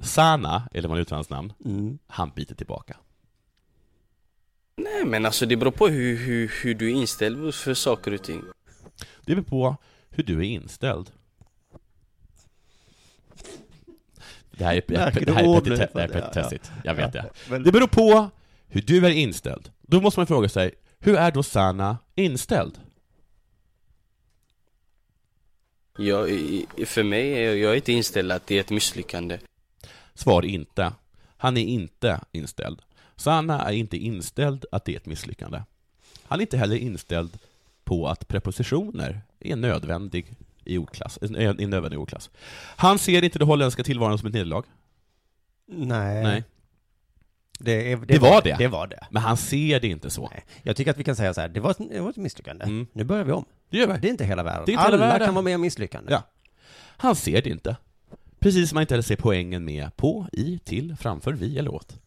Speaker 9: Sana, eller vad nu uttalar hans namn,
Speaker 8: mm.
Speaker 9: han biter tillbaka.
Speaker 15: Nej, men alltså det beror på hur, hur, hur du är inställd för saker och ting.
Speaker 9: Det beror på hur du är inställd. Det här är, det här
Speaker 8: Märker
Speaker 9: är,
Speaker 8: du
Speaker 9: det här är,
Speaker 8: ordlösa?
Speaker 9: petite- det här är
Speaker 8: Ja, ja.
Speaker 9: petitessigt, jag vet
Speaker 8: Ja,
Speaker 9: det.
Speaker 8: väl-
Speaker 9: Det beror på hur du är inställd. Då måste man fråga sig, hur är då Sana inställd?
Speaker 15: Jag, i- i- för mig, är jag- jag är inte inställd att det är ett misslyckande.
Speaker 9: Svar inte. Han är inte inställd. Sanna är inte inställd att det är ett misslyckande. Han är inte heller inställd på att prepositioner är nödvändig i ordklass, eh, är en nödvändig ordklass. Han ser inte det holländska tillvaron som ett nederlag.
Speaker 8: Nej.
Speaker 9: Nej.
Speaker 8: Det, är,
Speaker 9: Det, var det.
Speaker 8: Det var det.
Speaker 9: Men han ser det inte så.
Speaker 8: Jag tycker att vi kan säga så här, det var ett, det var ett misslyckande. Nu börjar vi om.
Speaker 9: Mm. Det gör vi.
Speaker 8: Det är inte hela världen.
Speaker 9: Det är inte hela
Speaker 8: Alla
Speaker 9: världen.
Speaker 8: kan vara med om misslyckanden.
Speaker 9: Ja. Han ser det inte. Precis som han inte heller ser poängen med på, i, till, framför, vi eller åt.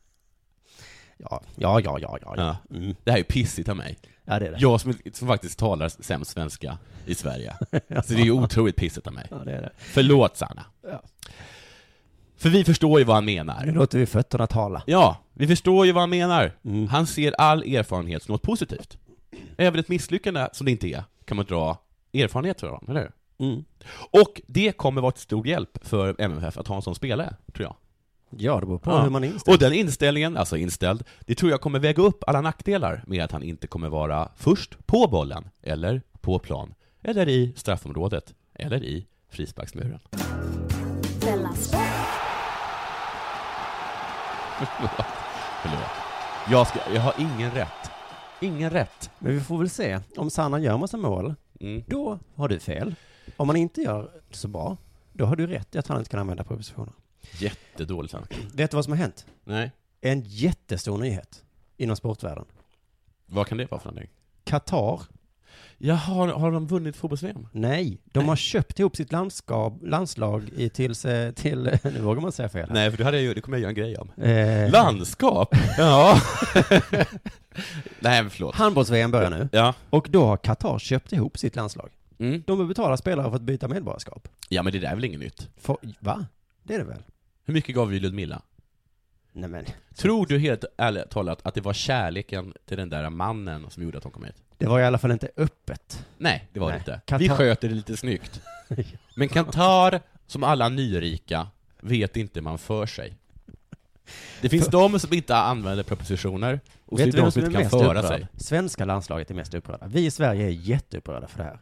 Speaker 8: Ja, ja, ja, ja, ja.
Speaker 9: Ja. Det här är ju pissigt av mig.
Speaker 8: Ja, det är det.
Speaker 9: Jag som, som faktiskt talar sämst svenska i Sverige. Så det är ju otroligt pissigt av mig.
Speaker 8: Ja, Mm. det är det.
Speaker 9: Förlåt, Sanna.
Speaker 8: Ja.
Speaker 9: För vi förstår ju vad han menar.
Speaker 8: Nu låter vi fötterna tala.
Speaker 9: Ja, vi förstår ju vad han menar. Han ser all erfarenhet som något positivt. Även ett misslyckande, som det inte är, kan man dra erfarenhet från, eller hur? Och det kommer vara till stor hjälp för MFF att ha en sån spelare, tror jag.
Speaker 8: Ja, det beror på hur man är inställd.
Speaker 9: Och den inställningen, alltså inställd, det tror jag kommer väga upp alla nackdelar med att han inte kommer vara först på bollen, eller på plan, eller i straffområdet, eller i frisparksmuren.
Speaker 7: Della Sport.
Speaker 9: Förlåt. Förlåt. Jag, ska, jag har ingen rätt. Ingen rätt.
Speaker 8: Men vi får väl se. Om Sanna gör massa mål, då har du fel. Om man inte gör så bra, då har du rätt i att han inte kan använda propositioner.
Speaker 9: Jättedålig tanke.
Speaker 8: Vet du vad som har hänt?
Speaker 9: Nej.
Speaker 8: En jättestor nyhet inom sportvärlden.
Speaker 9: Vad kan det vara för någonting?
Speaker 8: Qatar.
Speaker 9: Jaha, har de vunnit fotbolls
Speaker 8: Nej, de har köpt ihop sitt landskap, landslag i, till, sig- till, nu vågar man säga fel. här.
Speaker 9: Nej, för det, hade jag, ju- det kommer jag göra en grej om.
Speaker 8: Eh.
Speaker 9: Landskap? Ja. Nej, men förlåt.
Speaker 8: Handbolls-VM börjar nu.
Speaker 9: Ja.
Speaker 8: Och då har Qatar köpt ihop sitt landslag.
Speaker 9: Mm.
Speaker 8: De vill betala spelare för att byta medborgarskap.
Speaker 9: Ja, men det där är väl inget nytt?
Speaker 8: För, va? Det är det väl?
Speaker 9: Hur mycket gav vi Ludmilla?
Speaker 8: Nej, men.
Speaker 9: Tror du helt ärligt talat att det var kärleken till den där mannen som gjorde att hon kom hit?
Speaker 8: Det var i alla fall inte öppet.
Speaker 9: Nej, det var
Speaker 8: Nej.
Speaker 9: det inte.
Speaker 8: Qatar-
Speaker 9: Vi sköter det lite snyggt. Men Qatar, som alla nyrika, vet inte hur man för sig. Det finns de som inte använder propositioner, och så är
Speaker 8: Vet
Speaker 9: det
Speaker 8: du vem
Speaker 9: de som
Speaker 8: som är
Speaker 9: inte kan
Speaker 8: mest
Speaker 9: föra
Speaker 8: upprörd?
Speaker 9: sig.
Speaker 8: Svenska landslaget är mest upprörda. Vi i Sverige är jätteupprörda för det här.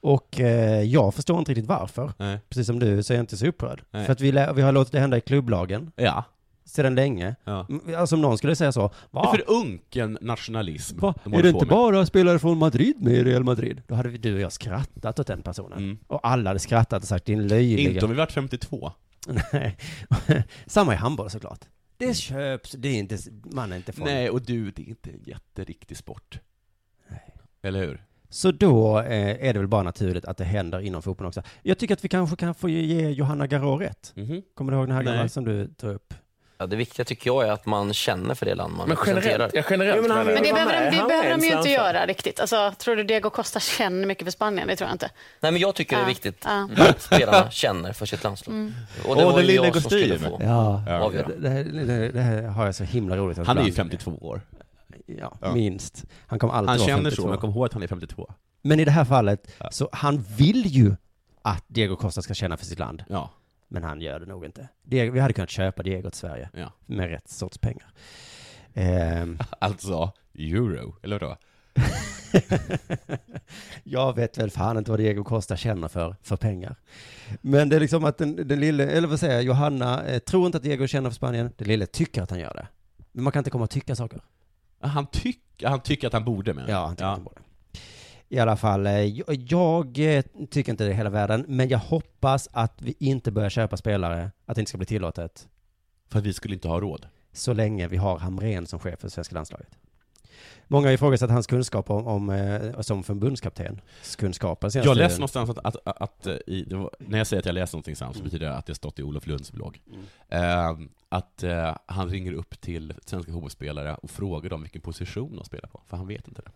Speaker 8: Och eh, jag förstår inte riktigt varför.
Speaker 9: Nej.
Speaker 8: Precis som du så är jag inte så upprörd.
Speaker 9: Nej.
Speaker 8: För att vi, lä- vi har låtit det hända i klubblagen.
Speaker 9: Ja.
Speaker 8: Sedan länge.
Speaker 9: Ja.
Speaker 8: M- Alltså om någon skulle säga så.
Speaker 9: Det är
Speaker 8: Va?
Speaker 9: för unken nationalism
Speaker 8: Va?
Speaker 9: de
Speaker 8: är
Speaker 9: håller
Speaker 8: det
Speaker 9: på
Speaker 8: inte
Speaker 9: med.
Speaker 8: bara spelare från Madrid med i Real Madrid? Då hade vi, du och jag skrattat åt den personen. Och alla hade skrattat och sagt din löjliga...
Speaker 9: Mm. Inte om vi varit 52.
Speaker 8: Nej. Samma i handboll såklart. Det köps, det är inte, man är inte från.
Speaker 9: Nej, och du, det är inte en jätteriktig sport. Eller hur?
Speaker 8: Så då eh, är det väl bara naturligt att det händer inom fotbollen också. Jag tycker att vi kanske kan få ge Johanna Garå rätt. Kommer du ihåg den här
Speaker 16: Nej.
Speaker 8: gamla som du tog upp?
Speaker 16: Ja, det viktiga tycker jag är att man känner för det land man
Speaker 17: Men generellt-
Speaker 16: representerar.
Speaker 17: ja, generellt Jo, men han menar vill
Speaker 18: Men det behöver, de, det
Speaker 16: Han är
Speaker 18: behöver de ju
Speaker 16: ensam
Speaker 18: inte
Speaker 16: för-
Speaker 18: göra riktigt. Alltså, tror du Diego Costa känner mycket för Spanien? Det tror jag inte.
Speaker 16: Nej, men jag tycker det är
Speaker 18: Ja,
Speaker 16: viktigt
Speaker 18: ja.
Speaker 16: att spelarna känner för sitt landslag.
Speaker 18: Mm.
Speaker 16: Och det
Speaker 9: Åh,
Speaker 16: var ju
Speaker 9: den lilla
Speaker 16: jag som skulle
Speaker 9: kostymen.
Speaker 16: få
Speaker 8: Ja,
Speaker 16: avgöra.
Speaker 8: det, här, det, det här har jag så himla roligt att
Speaker 9: Han är ju
Speaker 8: ibland-
Speaker 9: 52 år.
Speaker 8: Ja,
Speaker 9: Ja.
Speaker 8: minst. Han kommer alltid
Speaker 9: Han
Speaker 8: vara
Speaker 9: känner
Speaker 8: 52.
Speaker 9: så, men kom ihåg att han är 52.
Speaker 8: Men i det här fallet, så han vill ju att Diego Costa ska känna för sitt land.
Speaker 9: Ja.
Speaker 8: Men han gör det nog inte. Diego, vi hade kunnat köpa Diego till Sverige.
Speaker 9: Ja.
Speaker 8: Med rätt sorts pengar. Ehm,
Speaker 9: Alltså, euro, eller vadå?
Speaker 8: jag vet väl fan inte vad Diego Costa känner för, för pengar. Men det är liksom att den, den lille, eller vad säger jag, Johanna eh, tror inte att Diego känner för Spanien. Den lille tycker att han gör det. Men man kan inte komma och tycka saker.
Speaker 9: Han, tyck, han tycker att han borde, men
Speaker 8: Ja, han tycker att han borde. I alla fall, eh, jag, jag eh, tycker inte det är hela världen, men jag hoppas att vi inte börjar köpa spelare, att det inte ska bli tillåtet.
Speaker 9: För att vi skulle inte ha råd.
Speaker 8: Så länge vi har Hamrén som chef för svenska landslaget. Många har ifrågasatt hans kunskap om, om eh, som förbundskapten. Kunskapen senaste
Speaker 9: Jag läste
Speaker 8: tiden.
Speaker 9: någonstans att, att, att, att eh, i, det var, när jag säger att jag läste någonting
Speaker 8: Mm.
Speaker 9: sant så betyder det att det stått i Olof Lunds blogg. Eh, att eh, han ringer upp till svenska fotbollsspelare och frågar dem vilken position de spelar på, för han vet inte det.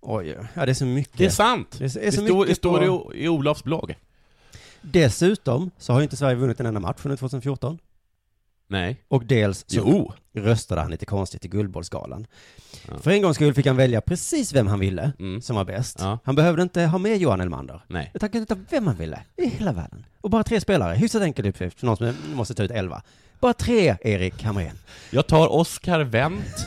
Speaker 8: Oj, ja det är så mycket.
Speaker 9: Det är sant!
Speaker 8: Det, är så, är
Speaker 9: Det
Speaker 8: så
Speaker 9: står-
Speaker 8: mycket
Speaker 9: det står i
Speaker 8: på-
Speaker 9: O- i Olofs blogg.
Speaker 8: Dessutom så har ju inte Sverige vunnit en enda match under 2014.
Speaker 9: Nej.
Speaker 8: Och dels så
Speaker 9: Jo.
Speaker 8: röstade han lite konstigt i Guldbollsgalan. För en gångs skull fick han välja precis vem han ville, som var bäst. Han behövde inte ha med Johan Elmander.
Speaker 9: Nej.
Speaker 8: Utan han kunde ta vem han ville, i hela världen. Och bara tre spelare, hyfsat enkel uppgift för någon som måste ta ut elva. Bara tre, Erik Hamrén.
Speaker 9: Jag tar Oscar Wendt.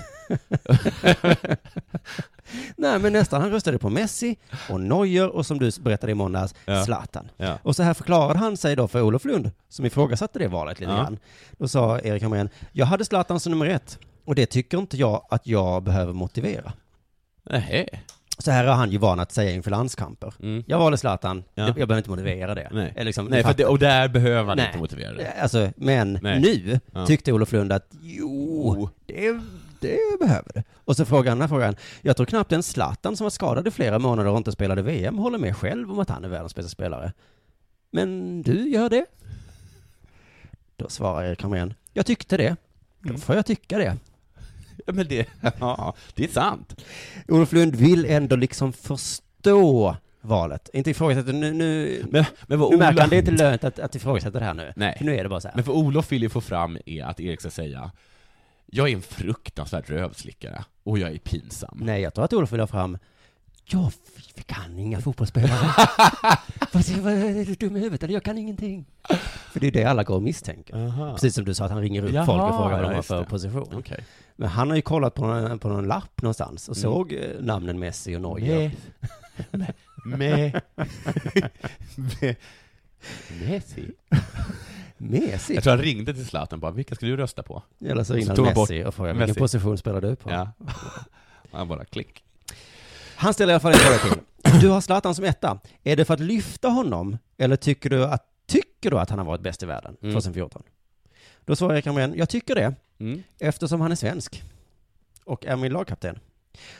Speaker 8: Nej men nästan, han röstade på Messi och Neuer och som du berättade i måndags,
Speaker 9: Ja.
Speaker 8: Zlatan.
Speaker 9: Ja.
Speaker 8: Och så här förklarade han sig då för Olof Lund, som ifrågasatte det valet lite
Speaker 9: Ja.
Speaker 8: grann. Då sa Erik Hamrén, jag hade Zlatan som nummer ett och det tycker inte jag att jag behöver motivera.
Speaker 9: Nähä.
Speaker 8: Så här är han ju van att säga inför landskamper. Jag valde Zlatan,
Speaker 9: Mm. Ja.
Speaker 8: jag behöver inte motivera det.
Speaker 9: Nej,
Speaker 8: Mm. Eller liksom,
Speaker 9: Nej för det, och där behöver man
Speaker 8: Nej.
Speaker 9: inte motivera det.
Speaker 8: Alltså, men
Speaker 9: Nej.
Speaker 8: nu
Speaker 9: Ja. Oh.
Speaker 8: tyckte Olof Lund att jo, det, det behöver det. Och så frågar han den här frågan. Jag tror knappt en Zlatan som var skadad i flera månader och inte spelade VM håller med själv om att han är världens bästa spelare. Men du gör det? Då svarar Erik Hamrén. Jag tyckte det. Då
Speaker 9: Mm.
Speaker 8: får jag tycka det.
Speaker 9: Ja, men det, ja, det är sant.
Speaker 8: Olof Lund vill ändå liksom förstå valet. Inte ifrågasätta, nu, nu,
Speaker 9: Men- men vad
Speaker 8: nu märker
Speaker 9: Ola-
Speaker 8: han, det är inte lönt att, att ifrågasätta det här nu.
Speaker 9: Nej.
Speaker 8: För nu är det bara så här.
Speaker 9: Men för Olof vill ju få fram är att Erik ska säga Jag är en fruktansvärd rövslickare och jag är pinsam.
Speaker 8: Nej, jag tror att Olof vill ha fram jag f- kan inga fotbollsspelare. Vad ska- vad är du dum i huvudet? Eller jag kan ingenting. För det är det alla går och misstänker.
Speaker 9: Aha.
Speaker 8: Precis som du sa att han ringer upp
Speaker 9: Jaha,
Speaker 8: folk och frågar vad
Speaker 9: ja,
Speaker 8: de har
Speaker 9: just
Speaker 8: för
Speaker 9: det.
Speaker 8: position.
Speaker 9: Okej.
Speaker 8: Men han har ju kollat på någon, på någon lapp någonstans och
Speaker 9: Mm.
Speaker 8: såg eh, namnen Messi och Neuer.
Speaker 9: Nej. Nej. Nej.
Speaker 8: Messi. Messi.
Speaker 9: Jag tror han ringde till Zlatan och bara, vilka ska du rösta på?
Speaker 8: Eller så innan
Speaker 9: tog han
Speaker 8: Messi och frågade, vilken
Speaker 9: Messi.
Speaker 8: position spelar du på?
Speaker 9: Ja. Han bara klick.
Speaker 8: Han ställer i alla fall en fråga till. Du har Zlatan som etta. Är det för att lyfta honom, eller tycker du att, tycker du att han har varit bäst i världen
Speaker 9: Mm.
Speaker 8: 2014? Då svarar Erik Hamrén, jag tycker det,
Speaker 9: Mm.
Speaker 8: eftersom han är svensk och är min lagkapten.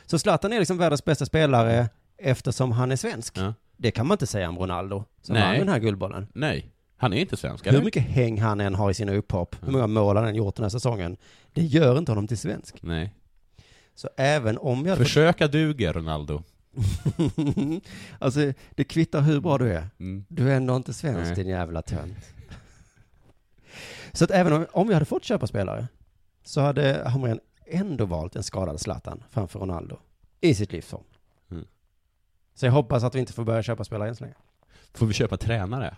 Speaker 8: Så Zlatan är liksom världens bästa spelare eftersom han är svensk.
Speaker 9: Ja.
Speaker 8: Det kan man inte säga om Ronaldo, som
Speaker 9: Nej.
Speaker 8: vann den här guldbollen.
Speaker 9: Nej, han är inte svensk.
Speaker 8: Hur mycket häng han än har i sina upphopp,
Speaker 9: Mm.
Speaker 8: hur många mål han än gjort den här säsongen, det gör inte honom till svensk.
Speaker 9: Nej.
Speaker 8: Så även om jag...
Speaker 9: Försöka duger, Ronaldo.
Speaker 8: alltså, det kvittar hur bra du är.
Speaker 9: Mm.
Speaker 8: Du är ändå inte svensk,
Speaker 9: Nej.
Speaker 8: din jävla tönt. så att även om, om jag hade fått köpa spelare, så hade Hamrén ändå valt en skadad Zlatan framför Ronaldo i sitt livsform.
Speaker 9: Mm.
Speaker 8: Så jag hoppas att vi inte får börja köpa spelare än så länge.
Speaker 9: Får vi köpa tränare?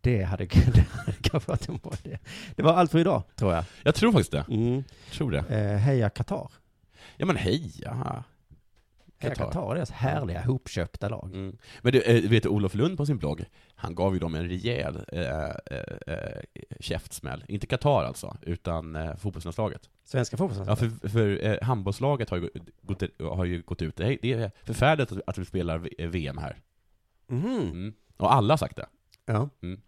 Speaker 8: Det hade, det hade kanske varit en bra idé. Det var allt för idag, tror jag.
Speaker 9: Jag tror faktiskt det.
Speaker 8: Mm.
Speaker 9: Tror det.
Speaker 8: Eh, heja Qatar.
Speaker 9: Ja men heja.
Speaker 8: Heja Qatar är deras härliga hopköpta lag.
Speaker 9: Mm. Men du, eh, vet du, Olof Lund på sin blogg, han gav ju dem en rejäl eh, eh, eh, käftsmäll. Inte Qatar alltså, utan eh, fotbollslandslaget.
Speaker 8: Svenska fotbollslandslaget?
Speaker 9: Ja, för, för eh, handbollslaget har ju gått, har ju gått ut. Det är- det är förfärligt att, att vi spelar V- eh, VM här.
Speaker 8: Mhm.
Speaker 9: Mm. Och alla har sagt det.
Speaker 8: Ja.
Speaker 9: Mm.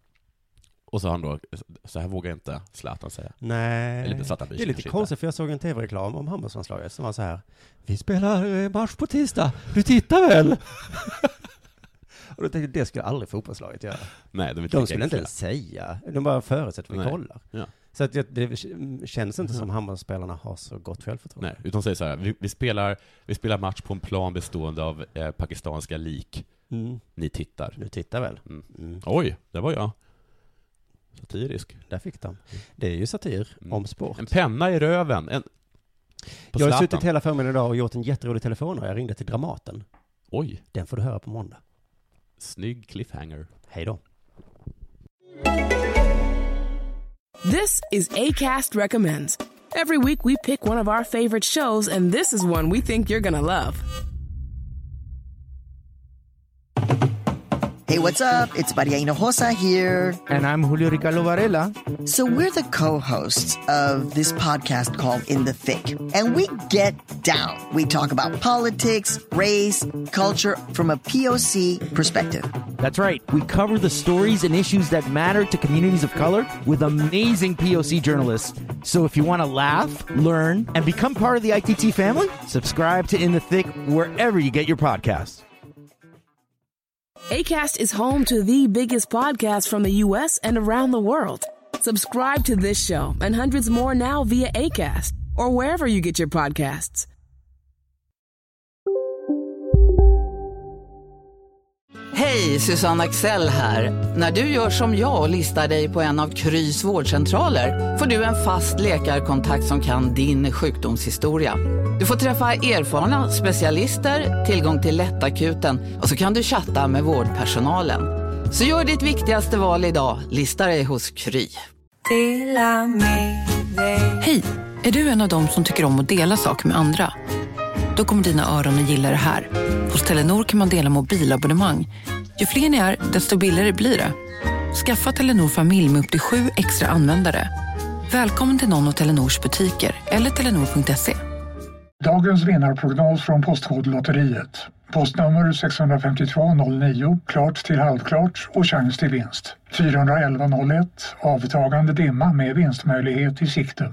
Speaker 9: Och så har han då, så här vågar inte Zlatan säga.
Speaker 8: Nej.
Speaker 9: Eller Zlatan bryr
Speaker 8: det är
Speaker 9: sig
Speaker 8: lite
Speaker 9: kanske
Speaker 8: konstigt för jag såg en tv-reklam om handbollslandslaget som var så här. Vi spelar eh, match på tisdag. Du tittar väl? Och då tänkte jag, det skulle aldrig fotbollslaget göra.
Speaker 9: Nej, de är inte
Speaker 8: de
Speaker 9: lika
Speaker 8: skulle inte
Speaker 9: äckliga.
Speaker 8: ens säga. De bara förutsätter att vi
Speaker 9: Nej.
Speaker 8: kollar.
Speaker 9: Ja. Mm.
Speaker 8: Så att det, det känns inte som handbollsspelarna har så gott självförtroende.
Speaker 9: Nej, utan säger så här, vi, vi, spelar, vi spelar match på en plan bestående av eh, pakistanska lik.
Speaker 8: Mm.
Speaker 9: Ni tittar.
Speaker 8: Du tittar väl?
Speaker 9: Mm.
Speaker 8: Mm.
Speaker 9: Oj, där var jag. Satirisk.
Speaker 8: Där fick
Speaker 9: Mm.
Speaker 8: de. Det är ju satir om sport.
Speaker 9: En penna i röven. En... Mm. På
Speaker 8: jag har
Speaker 9: Zlatan.
Speaker 8: suttit hela förmiddagen idag och gjort en jätterolig telefon och jag ringde till Dramaten.
Speaker 9: Oj,
Speaker 8: Den får du höra på måndag.
Speaker 9: snygg cliffhanger.
Speaker 8: Hej då.
Speaker 19: This is ACAST Recommends. Every week we pick one of our favorite shows, and this is one we think you're gonna love.
Speaker 5: Hey, what's up? It's Mariano Hosa here. And I'm Julio Ricardo Varela. So we're the co-hosts of this podcast called In the Thick. And we get down. We talk about politics, race, culture from a POC perspective.
Speaker 17: That's right. We cover the stories and issues that matter to communities of color with amazing POC journalists. So if you want to laugh, learn, and become part of the ITT family, subscribe to In the Thick wherever you get your podcasts.
Speaker 19: ACAST is home to the biggest podcasts from the US and around the world. Subscribe to this show and hundreds more now via ACAST or wherever you get your podcasts.
Speaker 20: Hej, Susanne Axel här. När du gör som jag och listar dig på en av Krys vårdcentraler får du en fast läkarkontakt som kan din sjukdomshistoria. Du får träffa erfarna specialister, tillgång till lättakuten och så kan du chatta med vårdpersonalen. Så gör ditt viktigaste val idag, lista dig hos Kry.
Speaker 21: Hej! Är du en av dem som tycker om att dela saker med andra? Då kommer dina öron att gilla det här. Hos Telenor kan man dela mobilabonnemang. Ju fler ni är, desto billigare blir det. Skaffa Telenor familj med upp till sju extra användare. Välkommen till någon av Telenors butiker eller telenor.se.
Speaker 22: Dagens vinnarprognos från Postkodlotteriet. Postnummer 65209, klart till halvklart och chans till vinst. 41101, avtagande dimma med vinstmöjlighet i sikte.